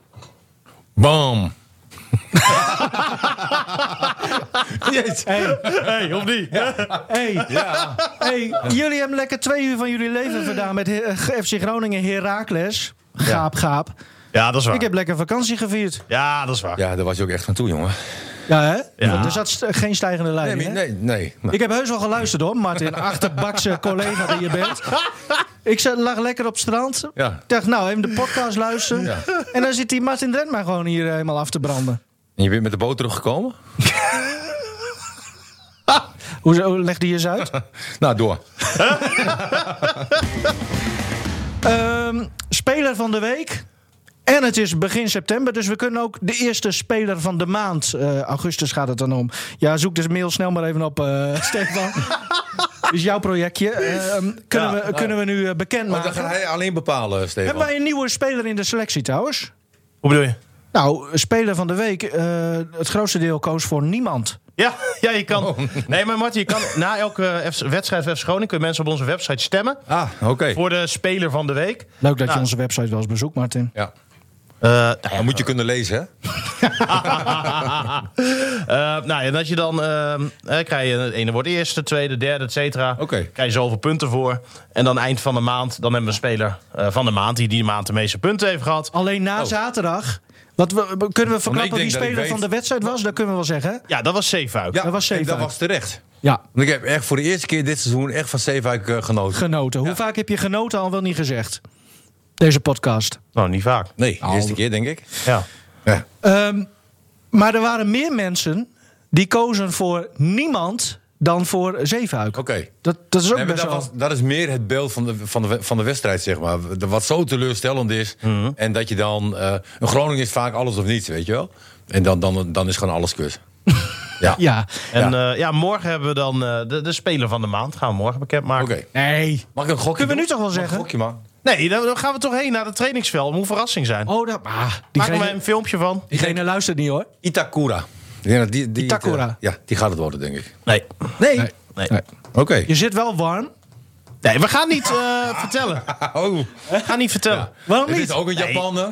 Speaker 3: bam. Jezus.
Speaker 4: hey, of niet?
Speaker 1: Hey, hey, jullie hebben lekker twee uur van jullie leven gedaan met He- FC Groningen Herakles. Gaap, gaap.
Speaker 4: Ja, dat is waar.
Speaker 1: Ik heb lekker vakantie gevierd.
Speaker 4: Ja, dat is waar.
Speaker 3: Ja, daar was je ook echt aan toe, jongen.
Speaker 1: Ja, hè?
Speaker 4: Ja.
Speaker 1: Er zat st- geen stijgende lijn.
Speaker 3: Nee,
Speaker 1: hè?
Speaker 3: nee, nee. Nou,
Speaker 1: Ik heb heus wel geluisterd hoor, Martin.
Speaker 3: [LAUGHS]
Speaker 1: Achterbakse collega die je bent. Ik zat, lag lekker op het strand.
Speaker 3: Ja.
Speaker 1: Ik dacht, nou, even de podcast luisteren.
Speaker 3: Ja.
Speaker 1: En dan zit die Martin Drent maar gewoon hier eh, helemaal af te branden.
Speaker 3: En je bent met de boot teruggekomen?
Speaker 1: Hoe, hoe legde je eens
Speaker 3: [LAUGHS]
Speaker 1: uit?
Speaker 3: Nou, door.
Speaker 1: Ehm, speler van de week. En het is begin september, dus we kunnen ook de eerste speler van de maand. eh, augustus gaat het dan om. Ja, zoek dus mail snel maar even op, eh, [LAUGHS] Stefan. is jouw projectje. Ehm, kunnen,
Speaker 4: Ja,
Speaker 1: we, kunnen we nu eh,
Speaker 3: Maar dan
Speaker 1: bekendmaken?
Speaker 3: Oh, gaat hij alleen bepalen, Stefan.
Speaker 1: Hebben wij een nieuwe speler in de selectie trouwens?
Speaker 4: Hoe bedoel je?
Speaker 1: Nou, speler van de week. eh, het grootste deel koos voor niemand.
Speaker 4: Ja, [LAUGHS] ja, je kan.
Speaker 3: Oh.
Speaker 4: Nee, maar Martin, je kan na elke eh, F- wedstrijd van FC Groningen kunnen mensen op onze website stemmen
Speaker 3: Ah, oké.
Speaker 4: voor de speler van de week.
Speaker 1: Leuk dat je
Speaker 4: Nou.
Speaker 1: onze website wel eens bezoekt, Martin.
Speaker 3: Ja.
Speaker 4: Eh, [LAUGHS] nou ja,
Speaker 3: Dan moet je kunnen lezen, hè?
Speaker 4: Eh, nou, en als je dan ehm, eh, krijg je het ene wordt eerste, tweede, derde, et cetera.
Speaker 3: Oké.
Speaker 4: Krijg je zoveel punten voor. En dan eind van de maand, dan hebben we een speler eh, van de maand die die maand de meeste punten heeft gehad.
Speaker 1: Alleen na zaterdag. Wat we, we- kunnen we verklappen wie
Speaker 3: denk dat Oh. ik
Speaker 1: speler
Speaker 3: weet.
Speaker 1: van de wedstrijd was? Dat kunnen we wel zeggen.
Speaker 4: Ja, dat was Zeefuik.
Speaker 3: Ja,
Speaker 1: Dat was
Speaker 3: en dat
Speaker 1: Zeefuik.
Speaker 3: was terecht.
Speaker 1: Ja.
Speaker 3: Want ik heb echt voor de eerste keer dit seizoen echt van Zeefuik eh, genoten.
Speaker 1: Genoten. Hoe vaak heb je genoten al wel niet gezegd? Deze podcast.
Speaker 4: Nou, niet vaak.
Speaker 3: Nee, de eerste keer denk ik.
Speaker 4: Ja.
Speaker 3: Ja.
Speaker 1: Ehm, maar er waren meer mensen die kozen voor niemand dan voor Zeefuik.
Speaker 3: Oké.
Speaker 1: Dat, dat is ook
Speaker 3: Nee, maar
Speaker 1: best
Speaker 3: dat,
Speaker 1: wel...
Speaker 3: was, dat is meer het beeld van de, van de, van de wedstrijd, zeg maar. De- Wat zo teleurstellend is.
Speaker 1: Mhm.
Speaker 3: En dat je dan... eh, een Groningen is vaak alles of niets, weet je wel. En dan, dan, dan is gewoon
Speaker 1: [LAUGHS]
Speaker 3: alles kus. ja.
Speaker 1: Ja.
Speaker 4: En ja. ja, morgen hebben we dan eh, de, de speler van de maand. Gaan we morgen bekendmaken.
Speaker 3: Oké.
Speaker 1: Nee.
Speaker 3: Mag ik een gokje
Speaker 1: Kunnen we nu
Speaker 3: doen?
Speaker 1: toch wel
Speaker 3: Mag ik
Speaker 1: zeggen?
Speaker 3: Een gokje, man.
Speaker 4: Nee, dan dan gaan we toch heen naar het trainingsveld. Moet een verrassing zijn.
Speaker 1: Oh, dat... Ah,
Speaker 4: Maken we
Speaker 1: diegene,
Speaker 4: een filmpje van?
Speaker 1: diegene luistert niet hoor.
Speaker 3: Itakura. Ik denk dat Die, die, het, eh,
Speaker 1: Itakura.
Speaker 3: ja, die gaat het worden, denk ik.
Speaker 4: Nee.
Speaker 3: Nee.
Speaker 4: Nee.
Speaker 3: Oké.
Speaker 1: Je zit wel warm.
Speaker 4: Nee, we gaan niet eh, [LAUGHS] vertellen.
Speaker 3: Oh,
Speaker 4: We gaan niet vertellen.
Speaker 1: Waarom
Speaker 3: dit
Speaker 1: niet?
Speaker 3: is ook een
Speaker 4: Nee.
Speaker 3: Japaner.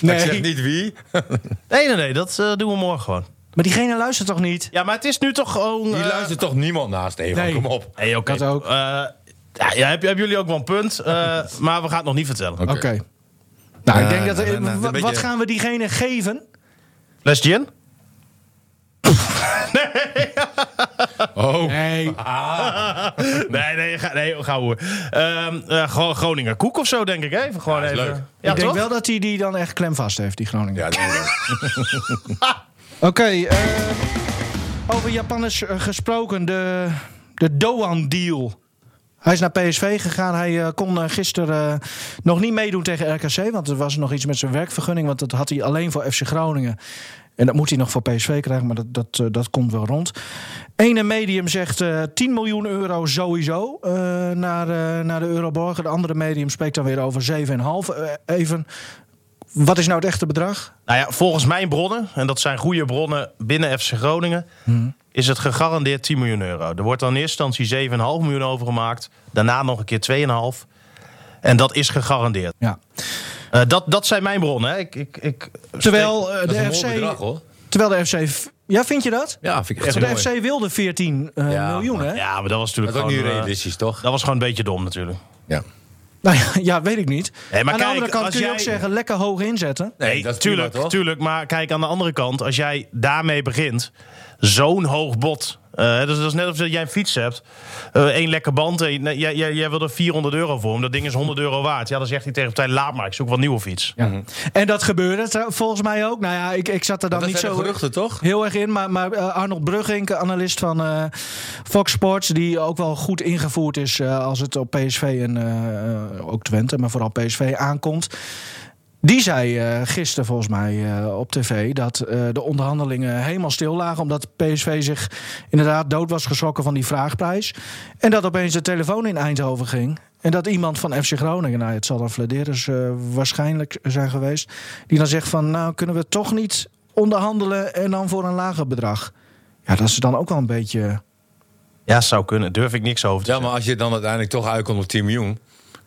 Speaker 1: Nee.
Speaker 3: Ik zeg niet wie.
Speaker 4: Nee, nee, nee, dat eh, doen we morgen gewoon.
Speaker 1: Maar diegene luistert toch niet?
Speaker 4: Ja, maar het is nu toch gewoon...
Speaker 3: Die
Speaker 4: eh,
Speaker 3: luistert toch niemand naast Evan,
Speaker 1: nee.
Speaker 3: kom op.
Speaker 4: Nee, oké.
Speaker 1: Dat ook.
Speaker 4: Eh, ja, ja, heb- hebben jullie ook wel een punt. eh, maar we gaan het nog niet vertellen.
Speaker 1: Oké.
Speaker 3: Oké.
Speaker 1: Nou, ik
Speaker 3: Eh,
Speaker 1: denk dat...
Speaker 3: nou, nou, nou,
Speaker 1: wa-
Speaker 3: een beetje-
Speaker 1: Wat gaan we diegene geven?
Speaker 4: Les Jin?
Speaker 3: Oh,
Speaker 1: Nee.
Speaker 4: Nee, nee, ga, nee gauw hoor. Ehm, eh, gewoon Groninger koek of zo, denk ik. hè? Even, gewoon
Speaker 3: Ja, is
Speaker 4: even.
Speaker 3: leuk.
Speaker 4: Ja,
Speaker 1: ik denk
Speaker 4: toch?
Speaker 1: wel dat hij die dan echt klemvast heeft, die Groningen. [LAUGHS]
Speaker 3: ja, denk ik.
Speaker 1: Oké, eh, over Japanners eh, gesproken, de, de Doan-deal. Hij is naar PSV gegaan. Hij eh, kon eh, gisteren eh, nog niet meedoen tegen RKC. Want er was nog iets met zijn werkvergunning. Want dat had hij alleen voor FC Groningen. En dat moet hij nog voor PSV krijgen. Maar dat, dat, eh, dat komt wel rond. Ene medium zegt eh 10 miljoen euro sowieso eh, naar, eh, naar de Euroborger. De andere medium spreekt dan weer over 7,5. Eh, even, wat is nou het echte bedrag?
Speaker 4: Nou ja, volgens mijn bronnen, en dat zijn goede bronnen binnen FC Groningen, is het gegarandeerd 10 miljoen euro. Er wordt dan in eerste instantie 7,5 miljoen overgemaakt. Daarna nog een keer 2,5. En dat is gegarandeerd.
Speaker 1: Ja.
Speaker 4: Eh, dat, dat zijn mijn bronnen. Hè. Ik, ik, ik,
Speaker 1: Terwijl eh,
Speaker 3: Dat is
Speaker 1: de
Speaker 3: een mooi
Speaker 1: FC...
Speaker 3: bedrag, hoor.
Speaker 1: Terwijl de FC. v- Ja, vind je dat?
Speaker 3: Ja, vind ik echt
Speaker 1: de
Speaker 3: mooi.
Speaker 1: FC wilde 14 eh,
Speaker 3: Ja,
Speaker 1: miljoen, hè? Ja.
Speaker 4: Ja, maar dat was
Speaker 3: Dat
Speaker 4: natuurlijk
Speaker 3: is ook niet
Speaker 4: gewoon, eh,
Speaker 3: realistisch, toch?
Speaker 4: dat was gewoon een beetje dom natuurlijk.
Speaker 3: Ja.
Speaker 1: Nou ja, ja, weet ik niet.
Speaker 4: Nee, maar
Speaker 1: Aan
Speaker 4: kijk,
Speaker 1: de andere kant
Speaker 4: als
Speaker 1: kun je
Speaker 4: jij-
Speaker 1: ook zeggen, lekker hoog inzetten.
Speaker 3: Nee,
Speaker 4: Nee,
Speaker 3: dat is prima,
Speaker 4: tuurlijk,
Speaker 3: toch?
Speaker 4: tuurlijk. Maar kijk, aan de andere kant, als jij daarmee begint, zo'n hoog bot. eh, dus dat is net alsof jij een fiets hebt. eh, één lekker band. eh, nee, jij, jij, jij wil er 400 euro voor hem. Dat ding is 100 euro waard. Ja, dan zegt hij tegen de partij, laat maar. Ik zoek wel een nieuwe fiets.
Speaker 1: En dat gebeurde trouw- volgens mij ook. Nou ja, ik, ik zat er dan
Speaker 3: Dat
Speaker 1: niet
Speaker 3: zijn
Speaker 1: zo
Speaker 3: de geruchten, toch?
Speaker 1: heel erg in. Maar, maar eh, Arnold Bruggink, analist van eh, Fox Sports... die ook wel goed ingevoerd is eh, als het op PSV en eh, ook Twente... maar vooral PSV aankomt... Die zei eh, gisteren volgens mij eh, op tv dat eh, de onderhandelingen helemaal stil lagen. Omdat PSV zich inderdaad dood was geschrokken van die vraagprijs. En dat opeens de telefoon in Eindhoven ging. En dat iemand van FC Groningen, nou het zal dan Vladeris eh, waarschijnlijk zijn geweest. Die dan zegt van nou kunnen we toch niet onderhandelen en dan voor een lager bedrag. Ja, dat is dan ook wel een beetje...
Speaker 4: Ja, zou kunnen. Durf ik niks over te
Speaker 3: Ja,
Speaker 4: zeggen.
Speaker 3: maar als je dan uiteindelijk toch uitkomt op 10 miljoen...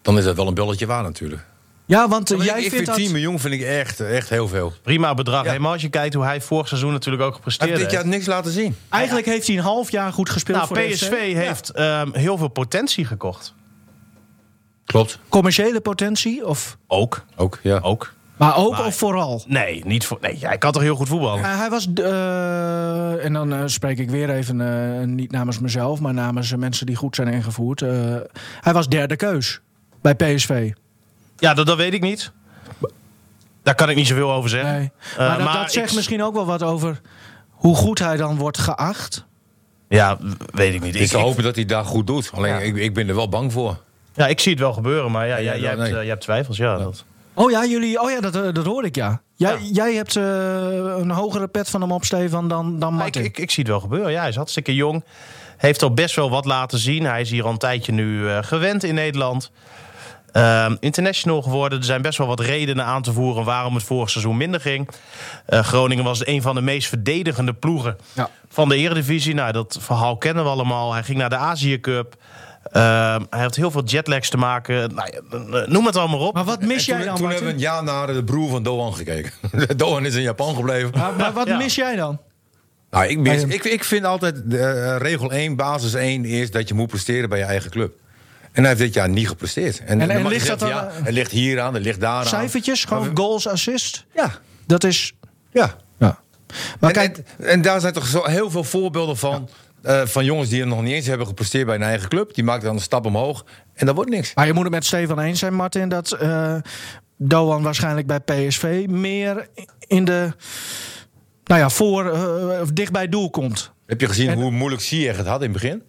Speaker 3: dan is dat wel een bulletje waar natuurlijk.
Speaker 1: Ja, want eh,
Speaker 3: Maar
Speaker 1: jij
Speaker 3: ik, ik
Speaker 1: vindt
Speaker 3: vind
Speaker 1: dat...
Speaker 3: 10 miljoen vind ik echt, echt heel veel.
Speaker 4: Prima bedrag.
Speaker 3: Ja.
Speaker 4: Helemaal als je kijkt hoe hij vorig seizoen natuurlijk ook
Speaker 3: Hij
Speaker 4: gepresteerd
Speaker 3: heeft
Speaker 4: heeft.
Speaker 3: dit jaar niks laten zien.
Speaker 1: Eigenlijk heeft hij een half jaar goed gespeeld
Speaker 4: Nou,
Speaker 1: voor de FC.
Speaker 4: PSV heeft ehm, heel veel potentie gekocht.
Speaker 3: Klopt.
Speaker 1: Commerciële potentie of...
Speaker 4: Ook.
Speaker 3: Ook, ja.
Speaker 4: Ook.
Speaker 1: Maar ook
Speaker 4: Maar-
Speaker 1: of vooral?
Speaker 4: Nee, niet voor, nee, hij kan toch heel goed voetballen?
Speaker 1: Uh, hij was, eh, en dan eh, spreek ik weer even, eh, niet namens mezelf, maar namens eh, mensen die goed zijn ingevoerd. Eh, hij was derde keus bij PSV.
Speaker 4: Ja, dat, dat weet ik niet. Daar kan ik niet zoveel over zeggen.
Speaker 1: Nee.
Speaker 4: Eh,
Speaker 1: maar dat,
Speaker 4: ik-
Speaker 1: dat zegt misschien ook wel wat over hoe goed hij dan wordt geacht.
Speaker 4: Ja, w- weet ik niet.
Speaker 3: Ik
Speaker 4: Ik,
Speaker 3: zou
Speaker 4: ik,
Speaker 3: hopen dat hij daar goed doet. Alleen, ik, ik ben er wel bang voor.
Speaker 4: ja, ik zie het wel gebeuren, maar ja,
Speaker 3: Ja,
Speaker 4: jij,
Speaker 3: ja,
Speaker 4: jij, hebt,
Speaker 3: nee.
Speaker 4: eh, jij hebt twijfels. Ja, dat.
Speaker 1: Oh ja, jullie, oh ja dat, eh, dat hoor ik ja. Jij,
Speaker 4: Ja.
Speaker 1: jij hebt eh, een hogere pet van hem op, Stefan, dan, dan
Speaker 4: Maar ik,
Speaker 1: Martin.
Speaker 4: ik, ik zie het wel gebeuren. Ja, hij is hartstikke jong. Heeft al best wel wat laten zien. Hij is hier al een tijdje nu eh, gewend in Nederland. Ehm, international geworden. Er zijn best wel wat redenen aan te voeren waarom het vorig seizoen minder ging. Eh, Groningen was een van de meest verdedigende ploegen
Speaker 1: Ja.
Speaker 4: van de Eredivisie. Nou, dat verhaal kennen we allemaal. Hij ging naar de Azië Cup. Ehm, hij had heel veel jetlags te maken. Nou, ja, eh, noem het allemaal op.
Speaker 1: Maar wat mis jij
Speaker 3: toen
Speaker 1: dan,
Speaker 3: toen hebben we
Speaker 1: Martin?
Speaker 3: een jaar naar de broer van Doan gekeken. [LAUGHS] Doan is in Japan gebleven.
Speaker 1: Maar, maar wat
Speaker 4: Ja.
Speaker 1: mis jij dan?
Speaker 3: Nou, ik, mis-
Speaker 1: Ah, ja.
Speaker 3: ik, ik vind altijd eh, regel 1, basis 1 is dat je moet presteren bij je eigen club. En hij heeft dit jaar niet gepresteerd. En,
Speaker 1: en
Speaker 3: dan mag je
Speaker 1: ligt dat
Speaker 3: zeggen,
Speaker 1: dan,
Speaker 3: Ja,
Speaker 1: eh,
Speaker 3: het ligt hier aan, het ligt daar aan.
Speaker 1: Cijfertjes, gewoon goals, assist.
Speaker 3: Ja,
Speaker 1: Dat is...
Speaker 3: ja.
Speaker 1: Ja. Maar
Speaker 3: en,
Speaker 1: kijk,
Speaker 3: en, en daar zijn toch zo heel veel voorbeelden van. eh, van jongens die er nog niet eens hebben gepresteerd bij hun eigen club. Die maken dan een stap omhoog en dat wordt niks.
Speaker 1: Maar je moet het met Stefan eens zijn, Martin, dat eh Doan waarschijnlijk bij PSV meer in de. Nou ja, voor eh, of dicht bij doel komt.
Speaker 3: Heb je gezien hoe moeilijk Ziyech het had in het begin?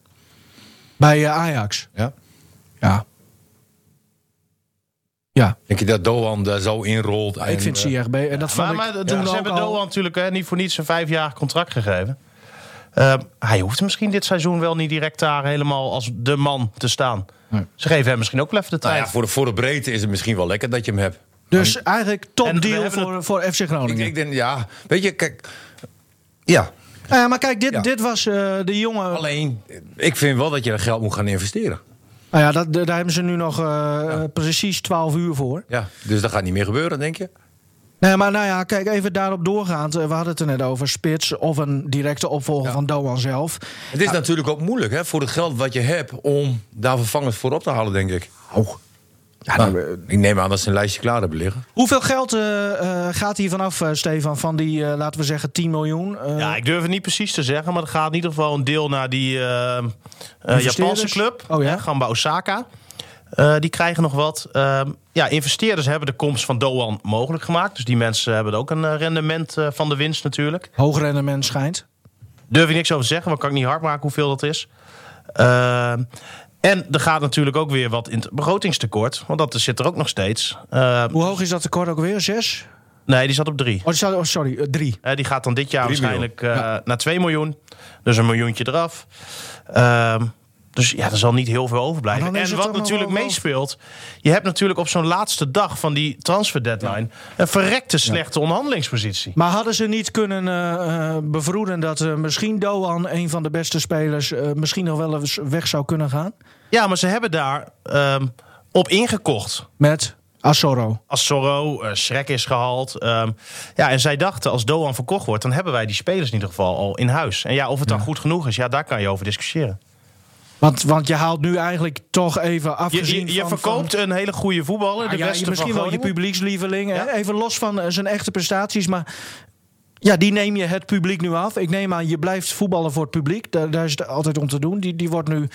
Speaker 1: Bij eh, Ajax.
Speaker 3: Ja.
Speaker 1: Ja. Ja,
Speaker 3: Denk je dat Doan daar zo inrolt?
Speaker 1: ik vind Ziyech beter. En dat vond
Speaker 4: eh, Maar,
Speaker 1: ik
Speaker 4: maar toen
Speaker 1: toen
Speaker 4: ze
Speaker 1: ook
Speaker 4: hebben
Speaker 1: al-
Speaker 4: Doan natuurlijk hè, niet voor niets een vijfjarig contract gegeven. Ehm, hij hoeft misschien dit seizoen wel niet direct daar helemaal als de man te staan.
Speaker 1: Nee.
Speaker 4: Ze geven hem misschien ook wel even de
Speaker 3: Nou
Speaker 4: tijd.
Speaker 3: ja, voor, de, voor de breedte is het misschien wel lekker dat je hem hebt.
Speaker 1: Dus eigenlijk
Speaker 4: En
Speaker 1: top
Speaker 4: we
Speaker 1: deal
Speaker 4: hebben
Speaker 1: voor, voor FC
Speaker 3: Ik,
Speaker 1: Groningen.
Speaker 3: ik denk, ja, weet je, kijk. Ja,
Speaker 1: Nou ja, maar kijk, dit,
Speaker 3: Ja.
Speaker 1: dit was eh, de jongen.
Speaker 3: alleen, ik vind wel dat je dat geld moet gaan investeren.
Speaker 1: Nou ja, dat, daar hebben ze nu nog eh, precies 12 uur voor.
Speaker 3: Ja, dus dat gaat niet meer gebeuren, denk je?
Speaker 1: Nee, maar nou ja, kijk, even daarop doorgaand. eh, We hadden het er net over, spits of een directe opvolger van Doan zelf.
Speaker 3: Het
Speaker 4: Ah.
Speaker 3: is natuurlijk ook moeilijk hè, voor het geld wat je hebt om daar vervangers voor op te halen, denk ik.
Speaker 1: Ja,
Speaker 3: Nou, ik neem aan dat ze een lijstje klaar hebben liggen.
Speaker 1: Hoeveel geld eh, eh, gaat hier vanaf, eh, Stefan? Van die, eh, laten we zeggen, 10 miljoen? Eh,
Speaker 4: Ja, ik durf het niet precies te zeggen, maar er gaat in ieder geval een deel naar die eh, eh, Japanse
Speaker 1: Investeerders?
Speaker 4: club,
Speaker 1: Oh ja?
Speaker 4: hè, Gamba Osaka. Eh, die krijgen nog wat. Eh, ja, investeerders hebben de komst van Doan mogelijk gemaakt. Dus die mensen hebben er ook een eh, rendement eh, van de winst natuurlijk.
Speaker 1: Hoog rendement schijnt.
Speaker 4: Durf ik niks over te zeggen, want kan ik niet hard maken hoeveel dat is. Eh, en er gaat natuurlijk ook weer wat in het begrotingstekort, want dat zit er ook nog steeds. Eh,
Speaker 1: Hoe hoog is dat tekort ook weer? Zes?
Speaker 4: nee, die zat op drie.
Speaker 1: Oh, die staat- oh, sorry, eh, drie.
Speaker 4: Eh, die gaat dan dit jaar
Speaker 3: Drie
Speaker 4: waarschijnlijk eh, naar 2 miljoen. Dus een miljoentje eraf. Ehm, dus ja, er zal niet heel veel
Speaker 1: Maar
Speaker 4: overblijven.
Speaker 1: dan is
Speaker 4: En
Speaker 1: het
Speaker 4: wat
Speaker 1: toch
Speaker 4: natuurlijk
Speaker 1: nog wel-
Speaker 4: meespeelt... je hebt natuurlijk op zo'n laatste dag van die transfer deadline... een verrekte slechte onderhandelingspositie.
Speaker 1: Maar hadden ze niet kunnen eh, eh, bevroeden dat eh, misschien Doan, een van de beste spelers, eh, misschien nog wel eens weg zou kunnen gaan?
Speaker 4: Ja, maar ze hebben daar ehm, op ingekocht.
Speaker 1: Met Asoro.
Speaker 4: Als Sorro, eh Schrek is gehaald. ehm, ja, en zij dachten, als Doan verkocht wordt... dan hebben wij die spelers in ieder geval al in huis. En ja, of het dan goed genoeg is, ja, daar kan je over discussiëren.
Speaker 1: Want, want je haalt nu eigenlijk toch even
Speaker 4: Je,
Speaker 1: afgezien
Speaker 4: je, je
Speaker 1: van-
Speaker 4: verkoopt een hele goede voetballer.
Speaker 1: van,
Speaker 4: de
Speaker 1: Ah, ja,
Speaker 4: beste
Speaker 1: misschien
Speaker 4: van
Speaker 1: wel je
Speaker 4: Groningen.
Speaker 1: publiekslieveling. hè?
Speaker 4: Ja.
Speaker 1: Even los van eh, zijn echte prestaties, maar... Ja, die neem je het publiek nu af. Ik neem aan, je blijft voetballen voor het publiek. Daar, daar is het altijd om te doen. Die, die wordt nu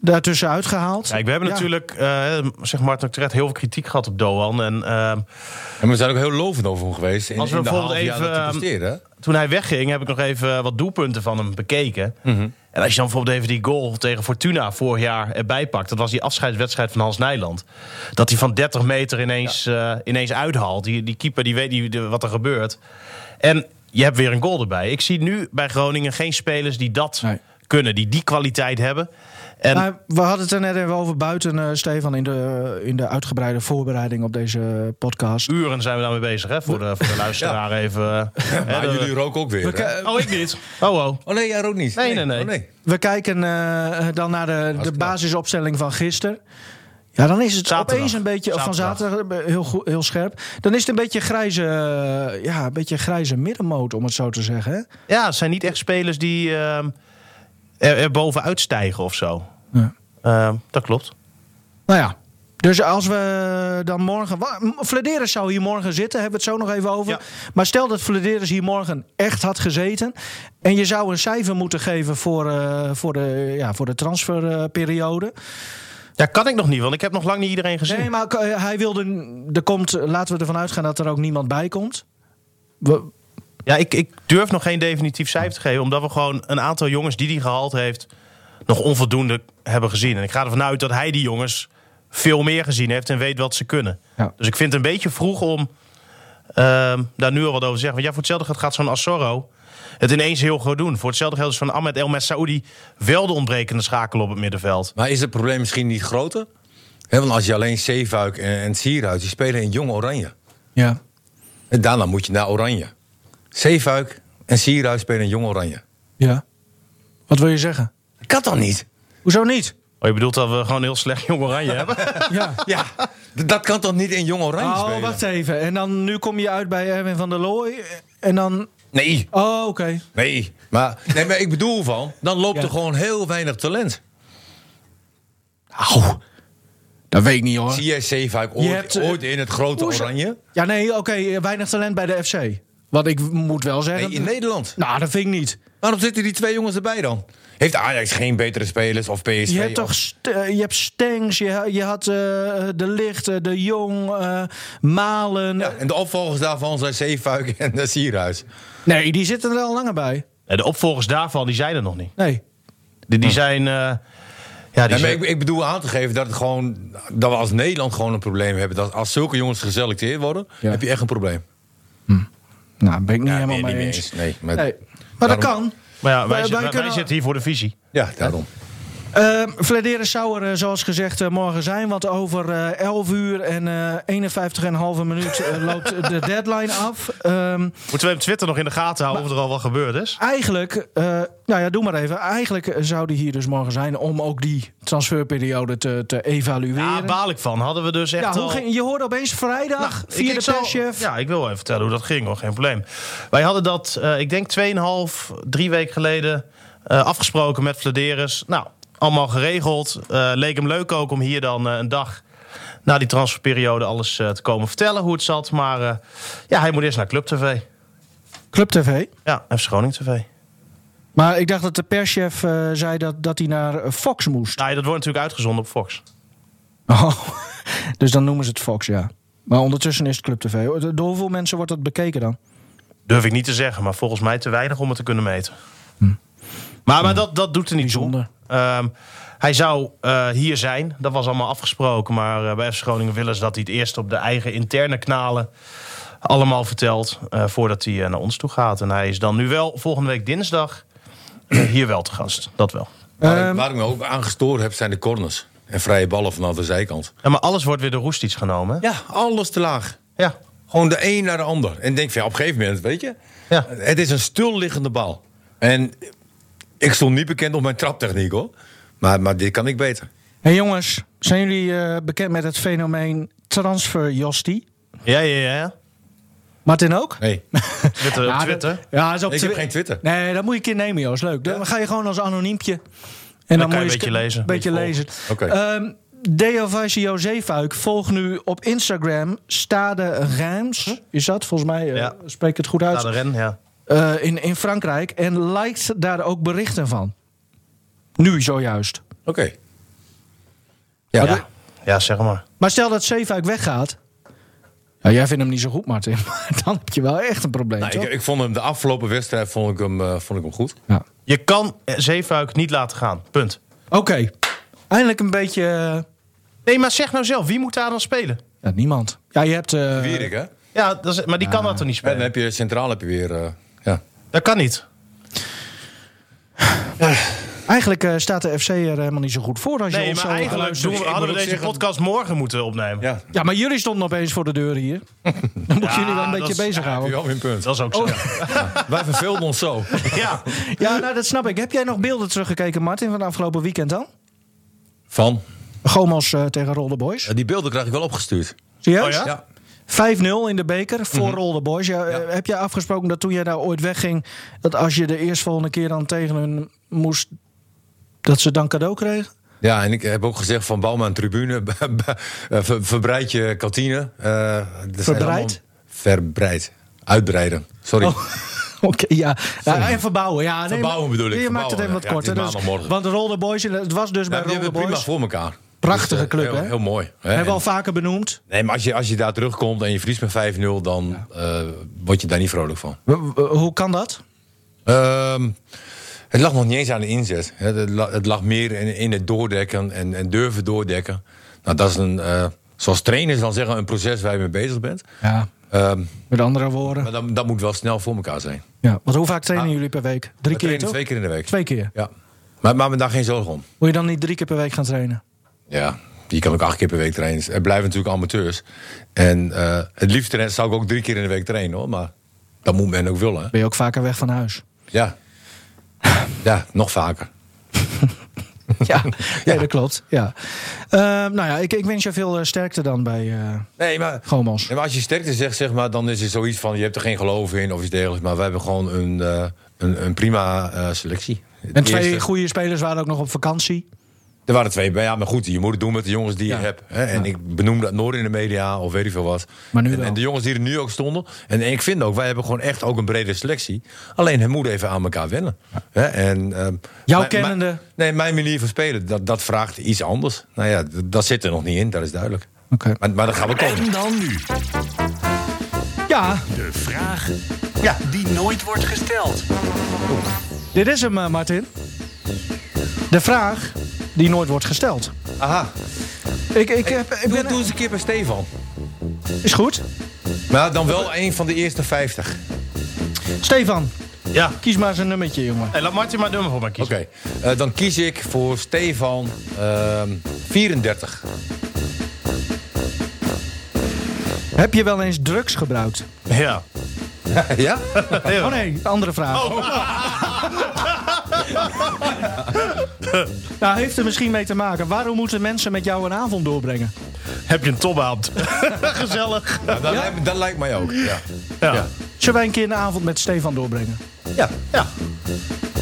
Speaker 1: daartussen uitgehaald.
Speaker 4: Kijk, we hebben
Speaker 1: Ja.
Speaker 4: natuurlijk, eh zeg Martin Tret, heel veel kritiek gehad op Doan. En eh,
Speaker 3: En we zijn ook heel lovend over hem geweest. In,
Speaker 4: Als we
Speaker 3: in de
Speaker 4: bijvoorbeeld
Speaker 3: half jaar
Speaker 4: even,
Speaker 3: dat hij
Speaker 4: ehm,
Speaker 3: presteerde, hè?
Speaker 4: toen hij wegging, heb ik nog even wat doelpunten van hem bekeken.
Speaker 3: Mhm.
Speaker 4: En als je dan bijvoorbeeld even die goal tegen Fortuna vorig jaar erbij pakt. Dat was die afscheidswedstrijd van Hans Nijland. Dat hij van 30 meter ineens, eh, ineens uithaalt. Die, die keeper die weet niet de- wat er gebeurt. En je hebt weer een goal erbij. Ik zie nu bij Groningen geen spelers die dat
Speaker 1: Nee. Nou,
Speaker 4: kunnen. Die die kwaliteit hebben. En
Speaker 1: Maar we hadden het er net even over buiten, eh, Stefan, in de, in de uitgebreide voorbereiding op deze podcast.
Speaker 4: uren zijn we daarmee bezig, hè? Voor
Speaker 1: [LAUGHS]
Speaker 4: de, voor de luisteraar even. eh,
Speaker 3: Maar
Speaker 4: hè, de-
Speaker 3: jullie roken ook weer. hè?
Speaker 1: Eh,
Speaker 4: Oh, ik niet. [LAUGHS] Oh, oh.
Speaker 3: Oh nee, jij rookt niet.
Speaker 4: Nee, nee, nee.
Speaker 3: Oh, nee.
Speaker 1: We kijken eh, dan naar de, de
Speaker 3: knap.
Speaker 1: basisopstelling van gisteren. Ja, dan is het
Speaker 4: Zaterdag.
Speaker 1: opeens een beetje of van
Speaker 4: Zaterdag.
Speaker 1: zaterdag eh, heel, goed- heel scherp. Dan is het een beetje grijze, eh, ja, een beetje grijze middenmoot, om het zo te zeggen. hè?
Speaker 4: Ja, het zijn niet echt spelers die ehm, er, er bovenuit stijgen of zo.
Speaker 1: Ja.
Speaker 4: Ehm, dat klopt.
Speaker 1: Nou ja. Dus als we dan morgen. wa- M- Flederis zou hier morgen zitten, hebben we het zo nog even over.
Speaker 4: Ja.
Speaker 1: Maar stel dat Flederis hier morgen echt had gezeten. En je zou een cijfer moeten geven voor, eh, voor, de, ja, voor de transferperiode.
Speaker 4: Ja, kan ik nog niet, want ik heb nog lang niet iedereen gezien.
Speaker 1: Nee, maar k- eh, hij wilde. Er komt, eh, laten we ervan uitgaan dat er ook niemand bij komt. We-
Speaker 4: Ja, ik, ik durf nog geen definitief cijfer te geven, omdat we gewoon een aantal jongens die hij gehaald heeft nog onvoldoende hebben gezien. En ik ga ervan uit dat hij die jongens veel meer gezien heeft en weet wat ze kunnen.
Speaker 1: Ja.
Speaker 4: Dus ik vind het een beetje vroeg om ehm, daar nu al wat over te zeggen. Want ja, voor hetzelfde geld gaat zo'n Assoro het ineens heel goed doen. Voor hetzelfde geld is van Ahmed El Saoudi wel de ontbrekende schakel op het middenveld.
Speaker 3: Maar is het probleem misschien niet groter? Hè, want als je alleen Zeefuik en, en Sierhuis, die spelen in Jong Oranje.
Speaker 1: ja.
Speaker 3: En daarna moet je naar Oranje. Zeefuik en Sierhuis spelen in Jong Oranje.
Speaker 1: ja. Wat wil je zeggen?
Speaker 3: Dat kan dan niet?
Speaker 1: Hoezo niet?
Speaker 4: Oh, je bedoelt dat we gewoon heel slecht jong oranje hebben?
Speaker 1: [LAUGHS] Ja.
Speaker 3: Ja, d- dat kan toch niet in Jong Oranje
Speaker 1: Oh,
Speaker 3: spelen?
Speaker 1: wacht even. En dan nu kom je uit bij Erwin van der Looy. eh, En dan.
Speaker 3: Nee,
Speaker 1: Oh, oké.
Speaker 3: nee. Maar, nee, maar ik bedoel van, dan loopt
Speaker 1: Ja.
Speaker 3: er gewoon heel weinig talent.
Speaker 1: Au. Dat weet ik niet hoor.
Speaker 3: Zie jij Zeefuik ooit,
Speaker 1: hebt, eh,
Speaker 3: ooit in het grote
Speaker 1: hoezo-
Speaker 3: Oranje?
Speaker 1: Ja, nee, oké, eh, weinig talent bij de FC. Wat ik moet wel
Speaker 3: Nee,
Speaker 1: zeggen.
Speaker 3: in Nederland.
Speaker 1: Nou, dat vind ik niet.
Speaker 3: Waarom zitten die twee jongens erbij dan? Heeft Ajax geen betere spelers of PSV?
Speaker 1: Je hebt
Speaker 3: of-
Speaker 1: toch st- eh, je hebt Stengs, je, je had eh, De Licht, eh, De Jong, eh, Malen.
Speaker 3: Ja, en de opvolgers daarvan zijn Zeefuik [LAUGHS] en eh, Sierhuis.
Speaker 1: Nee, die zitten er al langer bij.
Speaker 4: Ja, De opvolgers daarvan die zijn er nog niet.
Speaker 1: Nee.
Speaker 4: Die, die zijn. eh, ja, die
Speaker 3: Nee, maar
Speaker 4: zijn
Speaker 3: ik, ik bedoel aan te geven dat, het gewoon, dat we als Nederland gewoon een probleem hebben. Dat als zulke jongens geselecteerd worden,
Speaker 1: Ja.
Speaker 3: heb je echt een probleem.
Speaker 1: Nou, ben ik niet
Speaker 3: Ja,
Speaker 1: helemaal
Speaker 3: nee,
Speaker 1: mee
Speaker 3: niet mee
Speaker 1: eens.
Speaker 3: eens. Nee, maar,
Speaker 1: Nee. Maar dat
Speaker 3: Daarom-
Speaker 1: kan.
Speaker 4: maar ja, wij,
Speaker 1: wij-
Speaker 4: zit-
Speaker 1: wij
Speaker 4: wij- wij
Speaker 1: kunnen-
Speaker 4: zitten hier voor de visie.
Speaker 3: Ja, daarom.
Speaker 1: Ehm Vladeren zou er, eh, zoals gezegd, eh, morgen zijn. Want over eh 11 uur en eh 51,5 minuut eh, [LAUGHS] loopt de deadline af. Ehm,
Speaker 4: Moeten we op Twitter nog in de gaten houden of er al wat gebeurd is?
Speaker 1: eigenlijk, eh, nou ja, doe maar even. Eigenlijk eh, zou die hier dus morgen zijn om ook die transferperiode te, te evalueren.
Speaker 4: Daar baal ik van. Hadden we dus echt
Speaker 1: Ja, hoe
Speaker 4: al-
Speaker 1: ging, je hoorde opeens vrijdag
Speaker 4: Nou, ik-
Speaker 1: via
Speaker 4: ik
Speaker 1: de
Speaker 4: zal-
Speaker 1: perschef.
Speaker 4: Ja, ik wil wel even vertellen hoe dat ging hoor, geen probleem. Wij hadden dat, eh, ik denk 2,5, drie weken geleden eh, afgesproken met Vladeris. Nou, allemaal geregeld. Eh, leek hem leuk ook om hier dan eh, een dag na die transferperiode alles eh, te komen vertellen hoe het zat. Maar eh, ja, hij moet eerst naar Club TV.
Speaker 1: Club TV.
Speaker 4: Ja, en Schoning TV.
Speaker 1: Maar ik dacht dat de perschef eh, zei dat, dat hij naar eh, Fox moest.
Speaker 4: Nou, ja, dat wordt natuurlijk uitgezonden op Fox.
Speaker 1: Oh, [LAUGHS] dus dan noemen ze het Fox, ja. Maar ondertussen is het Club TV. Door hoeveel mensen wordt dat bekeken dan?
Speaker 4: Durf ik niet te zeggen, maar volgens mij te weinig om het te kunnen meten. Hm. Maar, maar dat, dat doet er niet
Speaker 1: Bijzonder.
Speaker 4: toe. Ehm, hij zou eh, hier zijn, dat was allemaal afgesproken. Maar eh, bij FC Groningen willen ze dat hij het eerst op de eigen interne kanalen allemaal vertelt. eh, voordat hij eh, naar ons toe gaat. En hij is dan nu wel volgende week dinsdag eh, hier wel te gast. Dat wel.
Speaker 3: Waar,
Speaker 1: Ehm,
Speaker 3: ik- waar ik me ook aan gestoord heb, zijn de corners. En vrije ballen vanaf de zijkant.
Speaker 4: Ja, maar alles wordt weer door Roestic genomen. hè?
Speaker 3: Ja, alles te laag.
Speaker 4: Ja.
Speaker 3: Gewoon de een naar de ander. En ik denk van, ja, op een gegeven moment, weet je...
Speaker 4: Ja.
Speaker 3: Het is een stilliggende bal. En ik stond niet bekend op mijn traptechniek, hoor. Maar, maar dit kan ik beter.
Speaker 1: Hey jongens, zijn jullie eh, bekend met het fenomeen transferjostie?
Speaker 4: Ja, ja, ja. ja.
Speaker 1: Martin ook?
Speaker 3: Nee,
Speaker 4: Twitter, Eh, op
Speaker 1: Ja,
Speaker 4: Twitter.
Speaker 1: dat- ja, is op
Speaker 3: ik heb
Speaker 1: Twi-
Speaker 3: geen Twitter.
Speaker 1: Nee, dat moet je een keer nemen, Joost. Leuk. Dan ga je gewoon als anoniempje. En
Speaker 4: kan je
Speaker 1: moet
Speaker 4: een beetje
Speaker 1: eens- Een
Speaker 4: lezen, een
Speaker 1: beetje
Speaker 4: beetje
Speaker 1: lezen.
Speaker 3: Oké.
Speaker 1: Ehm, Deo Vaisio Zeefuik volgt nu op Instagram Stade Reims. Is dat volgens mij? eh,
Speaker 4: Ja.
Speaker 1: Spreek ik het goed uit?
Speaker 4: Na de ren, ja.
Speaker 1: Eh, in, in Frankrijk. En liked daar ook berichten van. Nu zojuist.
Speaker 3: Oké. Ja,
Speaker 4: Ja. ja, zeg maar.
Speaker 1: Maar stel dat Zeefuik weggaat. Ja, jij vindt hem niet zo goed, Martin. [LAUGHS] Maar dan heb je wel echt een probleem,
Speaker 3: Nou,
Speaker 1: toch?
Speaker 3: ik, ik vond hem de afgelopen wedstrijd vond ik hem, eh, vond ik hem goed.
Speaker 1: Ja.
Speaker 4: Je kan eh, Zeefuik niet laten gaan. Punt.
Speaker 1: Oké. Eindelijk een beetje... eh,
Speaker 4: Nee, maar zeg nou zelf, wie moet daar dan spelen?
Speaker 1: Ja, niemand. Ja, je hebt... eh,
Speaker 3: Wierik, hè?
Speaker 4: Ja, dat is- maar die kan dat toch niet
Speaker 3: En dan
Speaker 4: spelen?
Speaker 3: heb je centraal heb je weer... eh, ja.
Speaker 4: Dat kan niet.
Speaker 1: Eigenlijk eh, staat de FC er helemaal niet zo goed voor als je
Speaker 4: Nee,
Speaker 1: ons
Speaker 4: maar
Speaker 1: zo
Speaker 4: eigenlijk
Speaker 1: luistert.
Speaker 4: doen we,
Speaker 3: Ik
Speaker 4: hadden we
Speaker 3: moet
Speaker 4: deze
Speaker 3: ook zeggen-
Speaker 4: podcast morgen moeten opnemen.
Speaker 3: ja.
Speaker 1: Ja, maar jullie stonden opeens voor de deur
Speaker 4: [LAUGHS]
Speaker 1: hier. Dan moet
Speaker 4: Ja,
Speaker 1: jullie wel een
Speaker 4: dat
Speaker 1: beetje
Speaker 3: Heb
Speaker 4: is-
Speaker 3: je
Speaker 1: bezighouden. Ja,
Speaker 3: wel weer een punt.
Speaker 4: Dat is ook zo.
Speaker 3: Wij verveelden ons zo.
Speaker 4: [LAUGHS] Ja.
Speaker 1: nou, dat snap ik. Heb jij nog beelden teruggekeken, Martin, van het afgelopen weekend dan?
Speaker 3: Van?
Speaker 1: Gomos eh, tegen Rolde Boys.
Speaker 3: Die beelden krijg ik wel opgestuurd.
Speaker 1: Serieus?
Speaker 4: Oh ja?
Speaker 3: Ja.
Speaker 1: 5-0 in de beker voor
Speaker 3: Mhm.
Speaker 1: Rolde Boys. Ja, eh, Heb jij afgesproken dat toen jij daar ooit wegging... dat als je de eerstvolgende keer dan tegen hun moest... dat ze dan cadeau kregen? [LAUGHS]
Speaker 3: Ja, en ik heb ook gezegd van Bouwman Tribune, [LAUGHS] eh, ver- verbreid je kantine. Eh, er zijn
Speaker 1: Verbreid?
Speaker 3: allemaal- verbreid. Uitbreiden. Sorry.
Speaker 1: Oh, Oké, ja. ja. En verbouwen, ja. Nee,
Speaker 3: Verbouwen
Speaker 1: maar-
Speaker 3: bedoel ik,
Speaker 1: Je maakt het
Speaker 3: verbouwen,
Speaker 1: even wat
Speaker 3: ja.
Speaker 1: korter.
Speaker 3: Het is
Speaker 1: dus-
Speaker 3: maandagmorgen.
Speaker 1: want de Rolde Boys, het was dus
Speaker 3: Ja,
Speaker 1: bij
Speaker 3: die
Speaker 1: Rolde
Speaker 3: hebben het prima
Speaker 1: Boys.
Speaker 3: voor elkaar.
Speaker 1: Prachtige
Speaker 3: eh,
Speaker 1: club,
Speaker 3: heel,
Speaker 1: hè?
Speaker 3: Heel mooi. Hè?
Speaker 1: Hebben we al
Speaker 3: En-
Speaker 1: vaker benoemd.
Speaker 3: nee, maar als je, als je daar terugkomt en je verliest met 5-0, dan eh, word je daar niet vrolijk van.
Speaker 1: W- w- Hoe kan dat?
Speaker 3: Ehm, het lag nog niet eens aan de inzet. hè. Het la- het lag meer in, in het doordekken en, en durven doordekken. Nou, dat is een, eh, zoals trainers dan zeggen, een proces waar je mee bezig bent.
Speaker 1: Ja,
Speaker 3: Ehm,
Speaker 1: met andere woorden.
Speaker 3: maar dat, dat moet wel snel voor elkaar zijn.
Speaker 1: Ja, want hoe vaak trainen jullie per week? Drie
Speaker 3: We
Speaker 1: keer,
Speaker 3: trainen
Speaker 1: toch?
Speaker 3: Ah. twee keer in de week.
Speaker 1: Twee keer.
Speaker 3: Ja. Maar maak me daar geen zorgen om.
Speaker 1: Moet je dan niet drie keer per week gaan trainen?
Speaker 3: Ja, je kan ook acht keer per week trainen. Het blijven natuurlijk amateurs. En eh, het liefst trainen- zou ik ook drie keer in de week trainen hoor. Maar dat moet men ook willen. hè.
Speaker 1: Ben je ook vaker weg van huis?
Speaker 3: Ja. Ja, nog vaker.
Speaker 1: [LAUGHS] Ja, Nee, dat klopt. Ja. Eh, nou ja, ik, ik wens je veel eh, sterkte dan bij eh
Speaker 3: Nee, maar
Speaker 1: Gomos.
Speaker 3: Ja, maar als je sterkte zegt, zeg maar, dan is het zoiets van... je hebt er geen geloof in of iets dergelijks. Maar wij hebben gewoon een, eh, een, een prima eh, selectie. Het
Speaker 1: En twee
Speaker 3: eerste-
Speaker 1: goede spelers waren ook nog op vakantie.
Speaker 3: Er waren twee, maar ja, maar goed, je moet het doen met de jongens die
Speaker 1: Ja.
Speaker 3: je hebt. Hè? En ik benoem dat nooit in de media of weet ik veel wat.
Speaker 1: Maar nu
Speaker 3: en,
Speaker 1: wel.
Speaker 3: en de jongens die er nu ook stonden. En, en ik vind ook, wij hebben gewoon echt ook een brede selectie. Alleen het moet even aan elkaar wennen. Hè? En, ehm,
Speaker 1: Jouw
Speaker 3: mijn-
Speaker 1: kennende-
Speaker 3: mijn- nee, mijn manier van spelen, dat, dat vraagt iets anders. Nou ja, d- dat zit er nog niet in, dat is duidelijk.
Speaker 1: Oké.
Speaker 3: Maar, maar dat gaan we komen.
Speaker 2: En dan nu
Speaker 1: Ja,
Speaker 2: de vraag
Speaker 4: Ja.
Speaker 2: die nooit wordt gesteld.
Speaker 1: dit is hem, eh, Martin. De vraag die nooit wordt gesteld.
Speaker 3: Aha,
Speaker 1: Ik, ik, heb, ik
Speaker 3: doe,
Speaker 1: ben,
Speaker 3: doe eens een keer bij Stefan.
Speaker 1: Is goed.
Speaker 3: Maar Nou, dan wel een van de eerste 50.
Speaker 1: Stefan,
Speaker 4: ja.
Speaker 1: kies maar eens een nummertje, jongen.
Speaker 4: Hey, laat Martin maar nummer voor mij kiezen.
Speaker 3: Oké, eh, dan kies ik voor Stefan ehm, 34.
Speaker 1: Heb je wel eens drugs gebruikt?
Speaker 4: Ja.
Speaker 3: [LAUGHS] ja? Oh.
Speaker 1: Oh nee, andere vraag. [LAUGHS] Nou, heeft er misschien mee te maken. Waarom moeten mensen met jou een avond doorbrengen?
Speaker 4: Heb je een topavond? [LAUGHS] Gezellig.
Speaker 3: Ja, dat, lijkt, me- dat lijkt mij ook. Ja.
Speaker 4: Ja.
Speaker 3: Ja.
Speaker 4: Ja.
Speaker 1: Zullen wij een keer een avond met Stefan doorbrengen?
Speaker 3: Ja.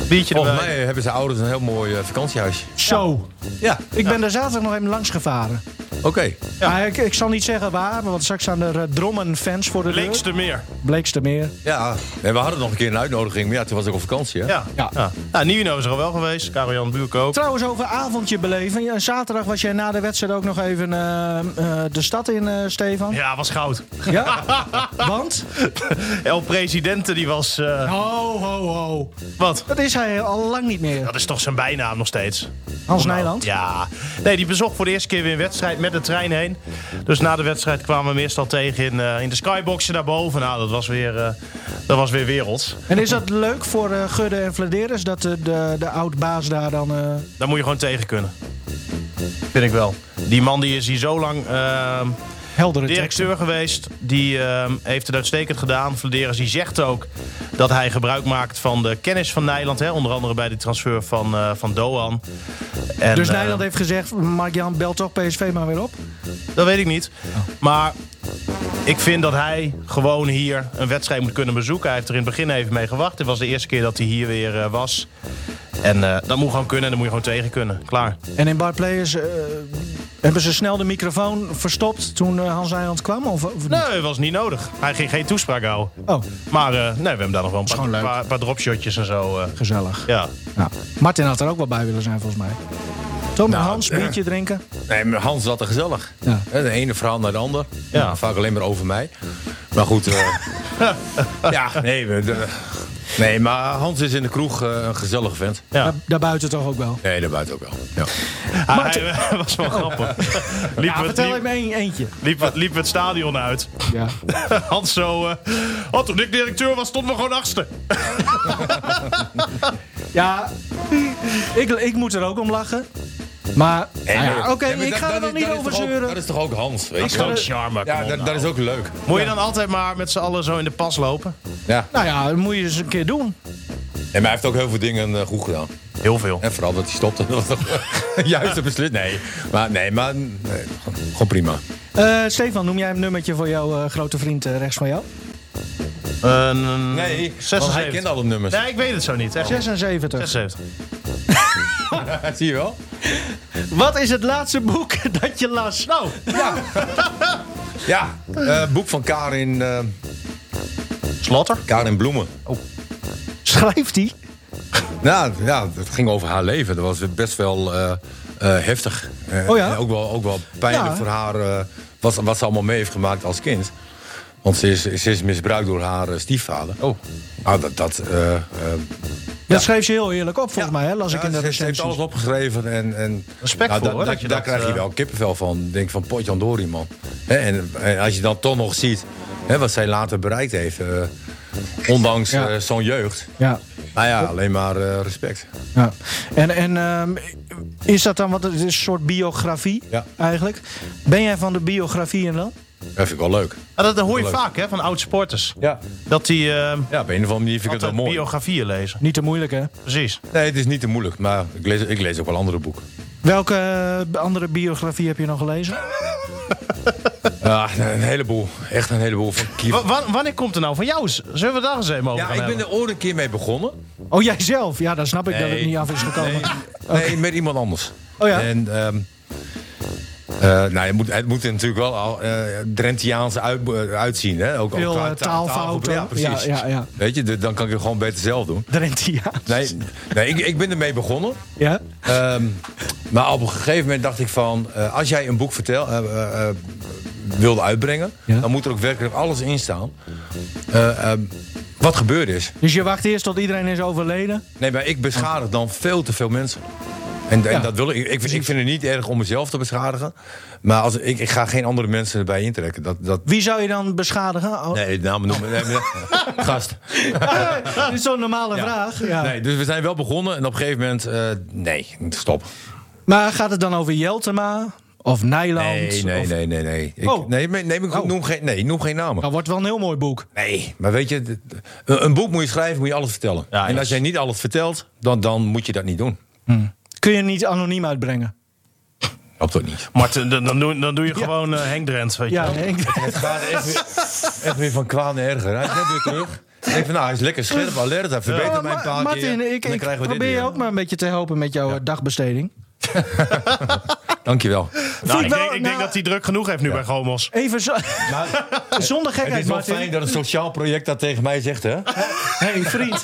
Speaker 4: Biertje erbij.
Speaker 3: Volgens mij hebben zijn ouders een heel mooi eh, vakantiehuisje.
Speaker 1: Zo.
Speaker 3: Ja,
Speaker 1: Ik ben daar zaterdag nog even langs gevaren.
Speaker 3: oké.
Speaker 1: Maar ik, ik zal niet zeggen waar, want straks staan er eh, drommen fans voor de deur.
Speaker 4: Linkste meer.
Speaker 1: Bleekstermeer.
Speaker 3: Ja, en we hadden nog een keer een uitnodiging, maar ja, toen was ik op vakantie. Hè?
Speaker 4: Ja.
Speaker 1: Ja.
Speaker 4: ja. Nou, Nino is er al wel geweest. Karel-Jan Buurk ook.
Speaker 1: Trouwens, over avondje beleven. Ja, zaterdag was jij na de wedstrijd ook nog even eh, eh, de stad in, eh, Stefan.
Speaker 4: Ja, was goud.
Speaker 1: Ja? [LAUGHS] Want?
Speaker 4: El Presidente, die was... eh,
Speaker 1: Ho, ho, ho.
Speaker 4: Wat?
Speaker 1: Dat is hij al lang niet meer.
Speaker 4: Dat is toch zijn bijnaam nog steeds?
Speaker 1: Hans Nijland.
Speaker 4: Ja. Nee, die bezocht voor de eerste keer weer een wedstrijd met de trein heen. Dus na de wedstrijd kwamen we meestal tegen in, eh, in de skyboxen daarboven. Nou, dat was weer, eh, dat was weer werelds.
Speaker 1: En is dat leuk voor eh, Gudde en Vladeres dat de, de, de oud-baas daar dan... eh,
Speaker 4: Daar moet je gewoon tegen kunnen. Vind ik wel. Die man die is hier zo lang ehm,
Speaker 1: heldere tekst.
Speaker 4: directeur geweest. Die ehm, heeft het uitstekend gedaan. Vladeris die zegt ook dat hij gebruik maakt van de kennis van Nijland. Hè, onder andere bij de transfer van, eh, van Doan. En,
Speaker 1: Dus
Speaker 4: eh,
Speaker 1: Nijland heeft gezegd, Mark-Jan, bel toch PSV maar weer op.
Speaker 4: Dat weet ik niet. Maar ik vind dat hij gewoon hier een wedstrijd moet kunnen bezoeken. Hij heeft er in het begin even mee gewacht. Het was de eerste keer dat hij hier weer eh, was. En eh, dat moet gewoon kunnen en dat moet je gewoon tegen kunnen. Klaar.
Speaker 1: En in Bar Players eh, hebben ze snel de microfoon verstopt toen eh, Hans Nijland kwam? Of, of niet?
Speaker 4: Nee, dat was niet nodig. Hij ging geen toespraak houden.
Speaker 1: Oh,
Speaker 4: Maar eh, nee, we hebben daar nog wel een paar,
Speaker 1: gewoon leuk.
Speaker 4: paar, paar dropshotjes en zo. eh,
Speaker 1: gezellig.
Speaker 4: ja.
Speaker 1: Nou, Martin had er ook wel bij willen zijn, volgens mij. Tom en
Speaker 3: Nou,
Speaker 1: Hans, biertje drinken.
Speaker 3: Nee, maar Hans zat er gezellig.
Speaker 1: Ja.
Speaker 3: Hè, De ene verhaal naar de ander.
Speaker 4: Ja.
Speaker 3: Vaak alleen maar over mij. Maar
Speaker 1: [LAUGHS]
Speaker 3: goed. eh, ja, nee, we- de- nee, maar Hans is in de kroeg eh, een gezellige vent.
Speaker 4: Ja.
Speaker 1: Daar- Daarbuiten toch ook wel.
Speaker 3: Nee, daarbuiten ook wel. Ja.
Speaker 1: Ah
Speaker 4: Hij- hij eh, [LAUGHS] was wel grappig. liep, het,
Speaker 1: Vertel
Speaker 4: liep,
Speaker 1: hem één eentje.
Speaker 4: liep het- liep het stadion uit. [LAUGHS]
Speaker 1: Ja.
Speaker 4: Hans zo... eh, oh, toen ik directeur was, stond we gewoon achtste.
Speaker 1: Ja, ik, ik moet er ook om lachen. Maar, nou ja, oké,
Speaker 3: Nee, maar
Speaker 1: ik
Speaker 3: dat-
Speaker 1: ga er
Speaker 3: dat
Speaker 1: nog
Speaker 3: is-
Speaker 1: niet
Speaker 3: dat is
Speaker 1: over
Speaker 3: toch ook-
Speaker 1: zeuren.
Speaker 3: Dat is toch ook Hans, weet
Speaker 4: Dat
Speaker 3: je
Speaker 4: is
Speaker 3: wel?
Speaker 4: gewoon charme.
Speaker 3: Ja,
Speaker 4: kom op
Speaker 3: dat,
Speaker 4: nou.
Speaker 3: dat is ook leuk.
Speaker 4: Moet je dan altijd maar met z'n allen zo in de pas lopen?
Speaker 3: Ja.
Speaker 1: Nou ja, dat moet je eens een keer doen.
Speaker 3: En maar hij heeft ook heel veel dingen eh, goed gedaan.
Speaker 4: Heel veel.
Speaker 3: En vooral dat hij [LAUGHS] stopte. Dat was toch juist een besluit. Nee, maar, nee, maar nee, gewoon prima.
Speaker 1: Eh, Stefan, noem jij een nummertje voor jouw eh, grote vriend eh, rechts van jou?
Speaker 3: Nee,
Speaker 4: Nee,
Speaker 3: want
Speaker 4: 76.
Speaker 3: hij kent alle nummers.
Speaker 4: Nee, ik weet het zo niet.
Speaker 3: Oh.
Speaker 4: Echt.
Speaker 1: 76.
Speaker 3: [LAUGHS]
Speaker 4: 76.
Speaker 3: Zie je wel?
Speaker 1: Wat is het laatste boek [LAUGHS] dat je las? Nou,
Speaker 4: ah,
Speaker 3: Ja, eh, boek van Karin, eh,
Speaker 4: Slotter?
Speaker 3: Karin Bloemen.
Speaker 1: schrijft hij.
Speaker 3: Nou, ja, het ging over haar leven. Dat was best wel eh, eh, heftig. Eh,
Speaker 1: Oh ja?
Speaker 3: en Ook wel, ook wel pijnlijk
Speaker 1: Ja.
Speaker 3: voor haar, eh, wat, ze- wat ze allemaal mee heeft gemaakt als kind. Want ze is, ze is misbruikt door haar eh, stiefvader. Oh. Nou, dat... dat eh, eh,
Speaker 1: Dat schreef ze heel eerlijk op, volgens mij, hè? las ik
Speaker 3: ja,
Speaker 1: in de
Speaker 3: ze- ze heeft
Speaker 1: recensies.
Speaker 3: alles opgeschreven. En, en,
Speaker 4: Respect
Speaker 3: nou,
Speaker 4: voor,
Speaker 3: da-
Speaker 4: hoor,
Speaker 3: da-
Speaker 4: dat je
Speaker 3: Daar
Speaker 4: dat,
Speaker 3: krijg je
Speaker 4: eh,
Speaker 3: wel kippenvel van. Denk van, potjandori, man. Hè, en, en als je dan toch nog ziet hè, wat zij later bereikt heeft... eh, ondanks
Speaker 1: Ja.
Speaker 3: eh, zo'n jeugd.
Speaker 1: Ja.
Speaker 3: Nou ja, alleen maar eh, respect.
Speaker 1: ja. En, en ehm, is dat dan wat het is een soort biografie
Speaker 3: Ja.
Speaker 1: eigenlijk? Ben jij van de biografieën dan?
Speaker 3: Dat vind ik wel leuk.
Speaker 4: Ah, dat, dat hoor je
Speaker 3: Leuk.
Speaker 4: vaak hè, van oud-sporters.
Speaker 3: Ja.
Speaker 4: Dat die eh,
Speaker 3: Ja, op een of andere manier vind ik het wel
Speaker 4: altijd
Speaker 3: mooi.
Speaker 4: biografieën lezen.
Speaker 1: Niet te moeilijk, hè?
Speaker 4: Precies.
Speaker 3: Nee, het is niet te moeilijk, maar ik lees, ik lees ook wel andere boeken.
Speaker 1: Welke eh, andere biografie heb je nog gelezen?
Speaker 3: Ja, Ah, een heleboel. Echt een heleboel van Kier.
Speaker 4: Wa- wa- wanneer komt er nou van jou? Z- Zullen we daar eens even over
Speaker 3: Ja,
Speaker 4: gaan
Speaker 3: ik ben
Speaker 4: hebben?
Speaker 3: er ooit een keer mee begonnen.
Speaker 1: Oh, jijzelf? Ja, dan snap ik dat het
Speaker 3: Nee.
Speaker 1: niet af is gekomen.
Speaker 3: Nee, met iemand anders.
Speaker 1: Oh ja.
Speaker 3: En, ehm, eh, nou, het moet, het moet er natuurlijk wel al eh, Drentiaans uit, eh, uitzien. Hè? Ook, ook
Speaker 1: Veel
Speaker 3: qua
Speaker 1: eh,
Speaker 3: ta-
Speaker 1: taalfouten.
Speaker 3: Ja, precies.
Speaker 1: Ja, ja, ja.
Speaker 3: Weet je, de- dan kan ik het gewoon beter zelf doen.
Speaker 1: Drentiaans.
Speaker 3: Nee, nee ik, ik ben ermee begonnen.
Speaker 1: Ja?
Speaker 3: Ehm, maar op een gegeven moment dacht ik van... eh, als jij een boek vertel, eh, eh, eh, wilde uitbrengen...
Speaker 1: Ja.
Speaker 3: dan moet er ook werkelijk alles in staan. eh, ehm, wat gebeurd is.
Speaker 1: Dus je wacht eerst tot iedereen is overleden?
Speaker 3: Nee, maar ik beschadig dan veel te veel mensen. En, en
Speaker 1: Ja.
Speaker 3: dat wil ik. Ik, ik vind het niet erg om mezelf te beschadigen. Maar als, ik, ik ga geen andere mensen erbij intrekken. Dat, dat,
Speaker 1: Wie zou je dan beschadigen? Oh,
Speaker 3: nee, namen noemen. nee, [LAUGHS] maar- gast.
Speaker 1: [LAUGHS] Dit is zo'n normale
Speaker 3: Ja.
Speaker 1: vraag. Ja.
Speaker 3: Nee, dus we zijn wel begonnen. En op een gegeven moment... eh, nee, stop.
Speaker 1: Maar gaat het dan over Jeltema of Nijland?
Speaker 3: Nee, nee,
Speaker 1: Of-
Speaker 3: nee, nee. nee. Ik,
Speaker 1: Oh.
Speaker 3: nee, nee, nee, ik noem geen, nee, ik noem geen namen.
Speaker 1: Dat wordt wel een heel mooi boek.
Speaker 3: Nee, maar weet je, d- een een boek moet je schrijven, moet je alles vertellen.
Speaker 4: Ja,
Speaker 3: en
Speaker 4: ja.
Speaker 3: als jij niet alles vertelt, dan, dan moet je dat niet doen.
Speaker 1: kun je niet anoniem uitbrengen.
Speaker 3: Klopt ook niet.
Speaker 4: Marten, dan, dan doe, dan doe je gewoon eh, Henk Drent, weet je
Speaker 1: Ja,
Speaker 4: wel.
Speaker 1: nee, ik-
Speaker 3: Het gaat echt weer, echt weer van kwaad naar erger. Hij is net weer terug. Ik denk van, nou, hij is lekker scherp, alert. Hij verbetert
Speaker 1: Oh,
Speaker 3: mijn
Speaker 1: Ma-
Speaker 3: paaltje.
Speaker 1: Martin, ik,
Speaker 3: En dan
Speaker 1: ik
Speaker 3: krijgen we dit
Speaker 1: probeer je
Speaker 3: weer.
Speaker 1: ook maar een beetje te helpen met jouw eh, dagbesteding.
Speaker 3: Dankjewel.
Speaker 4: Nou,
Speaker 1: Vind
Speaker 4: ik
Speaker 1: ik wel-
Speaker 4: denk, ik denk
Speaker 1: nou-
Speaker 4: dat hij druk genoeg heeft nu bij Gomos.
Speaker 1: Even zo-
Speaker 3: Maar
Speaker 1: zonder
Speaker 3: het
Speaker 1: gekheid,
Speaker 3: is wel
Speaker 1: Martin.
Speaker 3: fijn dat een sociaal project dat tegen mij zegt, hè?
Speaker 1: hey,
Speaker 3: [LAUGHS]
Speaker 1: vriend.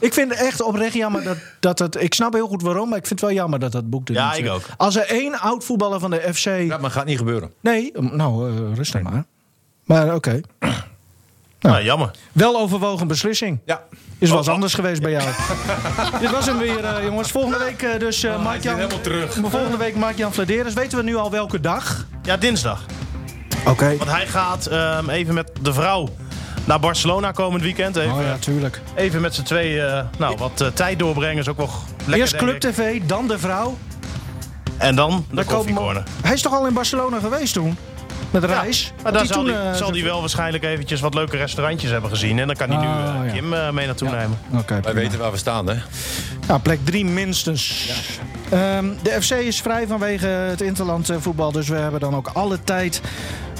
Speaker 1: ik vind het echt oprecht jammer dat, dat het... Ik snap heel goed waarom, maar ik vind het wel jammer dat dat boek er
Speaker 4: Ja,
Speaker 1: niet
Speaker 4: ik
Speaker 1: zit.
Speaker 4: ook.
Speaker 1: Als er één oud-voetballer van de FC...
Speaker 3: Dat maar gaat niet gebeuren.
Speaker 1: Nee, m- nou, eh, rustig maar. Maar oké.
Speaker 4: Nou, jammer.
Speaker 1: Wel overwogen beslissing.
Speaker 3: Ja.
Speaker 1: Is
Speaker 3: Oh,
Speaker 1: wel eens anders geweest
Speaker 3: [LAUGHS]
Speaker 1: bij jou. Dit was hem weer, eh, jongens. Volgende week eh, dus eh
Speaker 3: Hij Oh, is weer
Speaker 1: Mark-Jan...
Speaker 3: helemaal terug.
Speaker 1: Volgende week Mark-Jan Vladeres. Weten we nu al welke dag?
Speaker 4: Ja, dinsdag.
Speaker 1: Oké.
Speaker 4: Want hij gaat ehm, even met de vrouw naar Barcelona komend weekend. Even,
Speaker 1: Oh ja, tuurlijk.
Speaker 4: even met z'n twee eh, nou, wat eh, tijd doorbrengen is ook wel g- lekker.
Speaker 1: Eerst
Speaker 4: denk
Speaker 1: Club
Speaker 4: ik.
Speaker 1: TV, dan de vrouw.
Speaker 4: En dan de
Speaker 1: Dan komen we-
Speaker 4: koffiecorner.
Speaker 1: Hij is toch al in Barcelona geweest toen? Met de reis?
Speaker 4: Maar
Speaker 1: Want
Speaker 4: daar
Speaker 1: die
Speaker 4: zal
Speaker 1: toen,
Speaker 4: hij
Speaker 1: eh,
Speaker 4: zal die wel waarschijnlijk eventjes wat leuke restaurantjes hebben gezien. En dan kan hij nu
Speaker 1: Ah,
Speaker 4: eh,
Speaker 1: ja.
Speaker 4: Kim eh, mee naartoe nemen.
Speaker 1: Oké,
Speaker 3: Wij
Speaker 1: prima.
Speaker 3: weten waar we staan, hè?
Speaker 1: Nou, plek drie minstens. Ehm, de FC is vrij vanwege het interland eh, voetbal. Dus we hebben dan ook alle tijd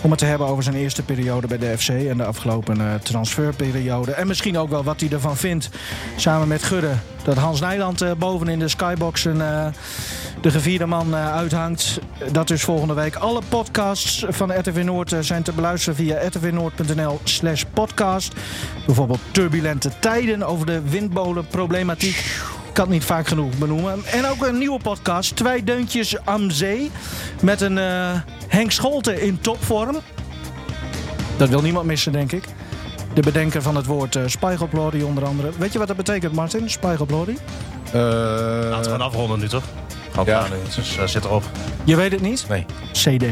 Speaker 1: om het te hebben over zijn eerste periode bij de FC. En de afgelopen eh, transferperiode. En misschien ook wel wat hij ervan vindt. Samen met Gudde. Dat Hans Nijland eh, boven in de skybox een, eh, de gevierde man eh, uithangt. Dat dus volgende week. Alle podcasts van RTV Noord eh, zijn te beluisteren via rtvnoord.nl slash podcast. Bijvoorbeeld turbulente tijden over de windmolenproblematiek. Ik kan het niet vaak genoeg benoemen. En ook een nieuwe podcast, Twee Deuntjes am Zee. Met een eh, Henk Scholte in topvorm. Dat wil niemand missen, denk ik. De bedenker van het woord eh spiegelplori onder andere. Weet je wat dat betekent, Martin? Spiegelplori?
Speaker 4: Laten we
Speaker 3: Eh
Speaker 4: gaan afronden nu, toch? Ook
Speaker 3: Ja.
Speaker 4: ja. Dus eh, zit erop.
Speaker 1: Je weet het niet?
Speaker 3: nee.
Speaker 1: CD.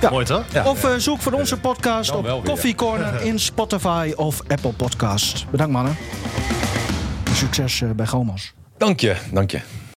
Speaker 1: Ja.
Speaker 4: Mooi toch?
Speaker 3: Ja.
Speaker 1: of eh, zoek voor onze podcast
Speaker 3: Dan
Speaker 1: op
Speaker 3: wel weer,
Speaker 1: Coffee
Speaker 3: [LAUGHS]
Speaker 1: Corner in Spotify of Apple Podcast. Bedankt, mannen. Succes eh, bij Gomas.
Speaker 3: Dank je, dank je.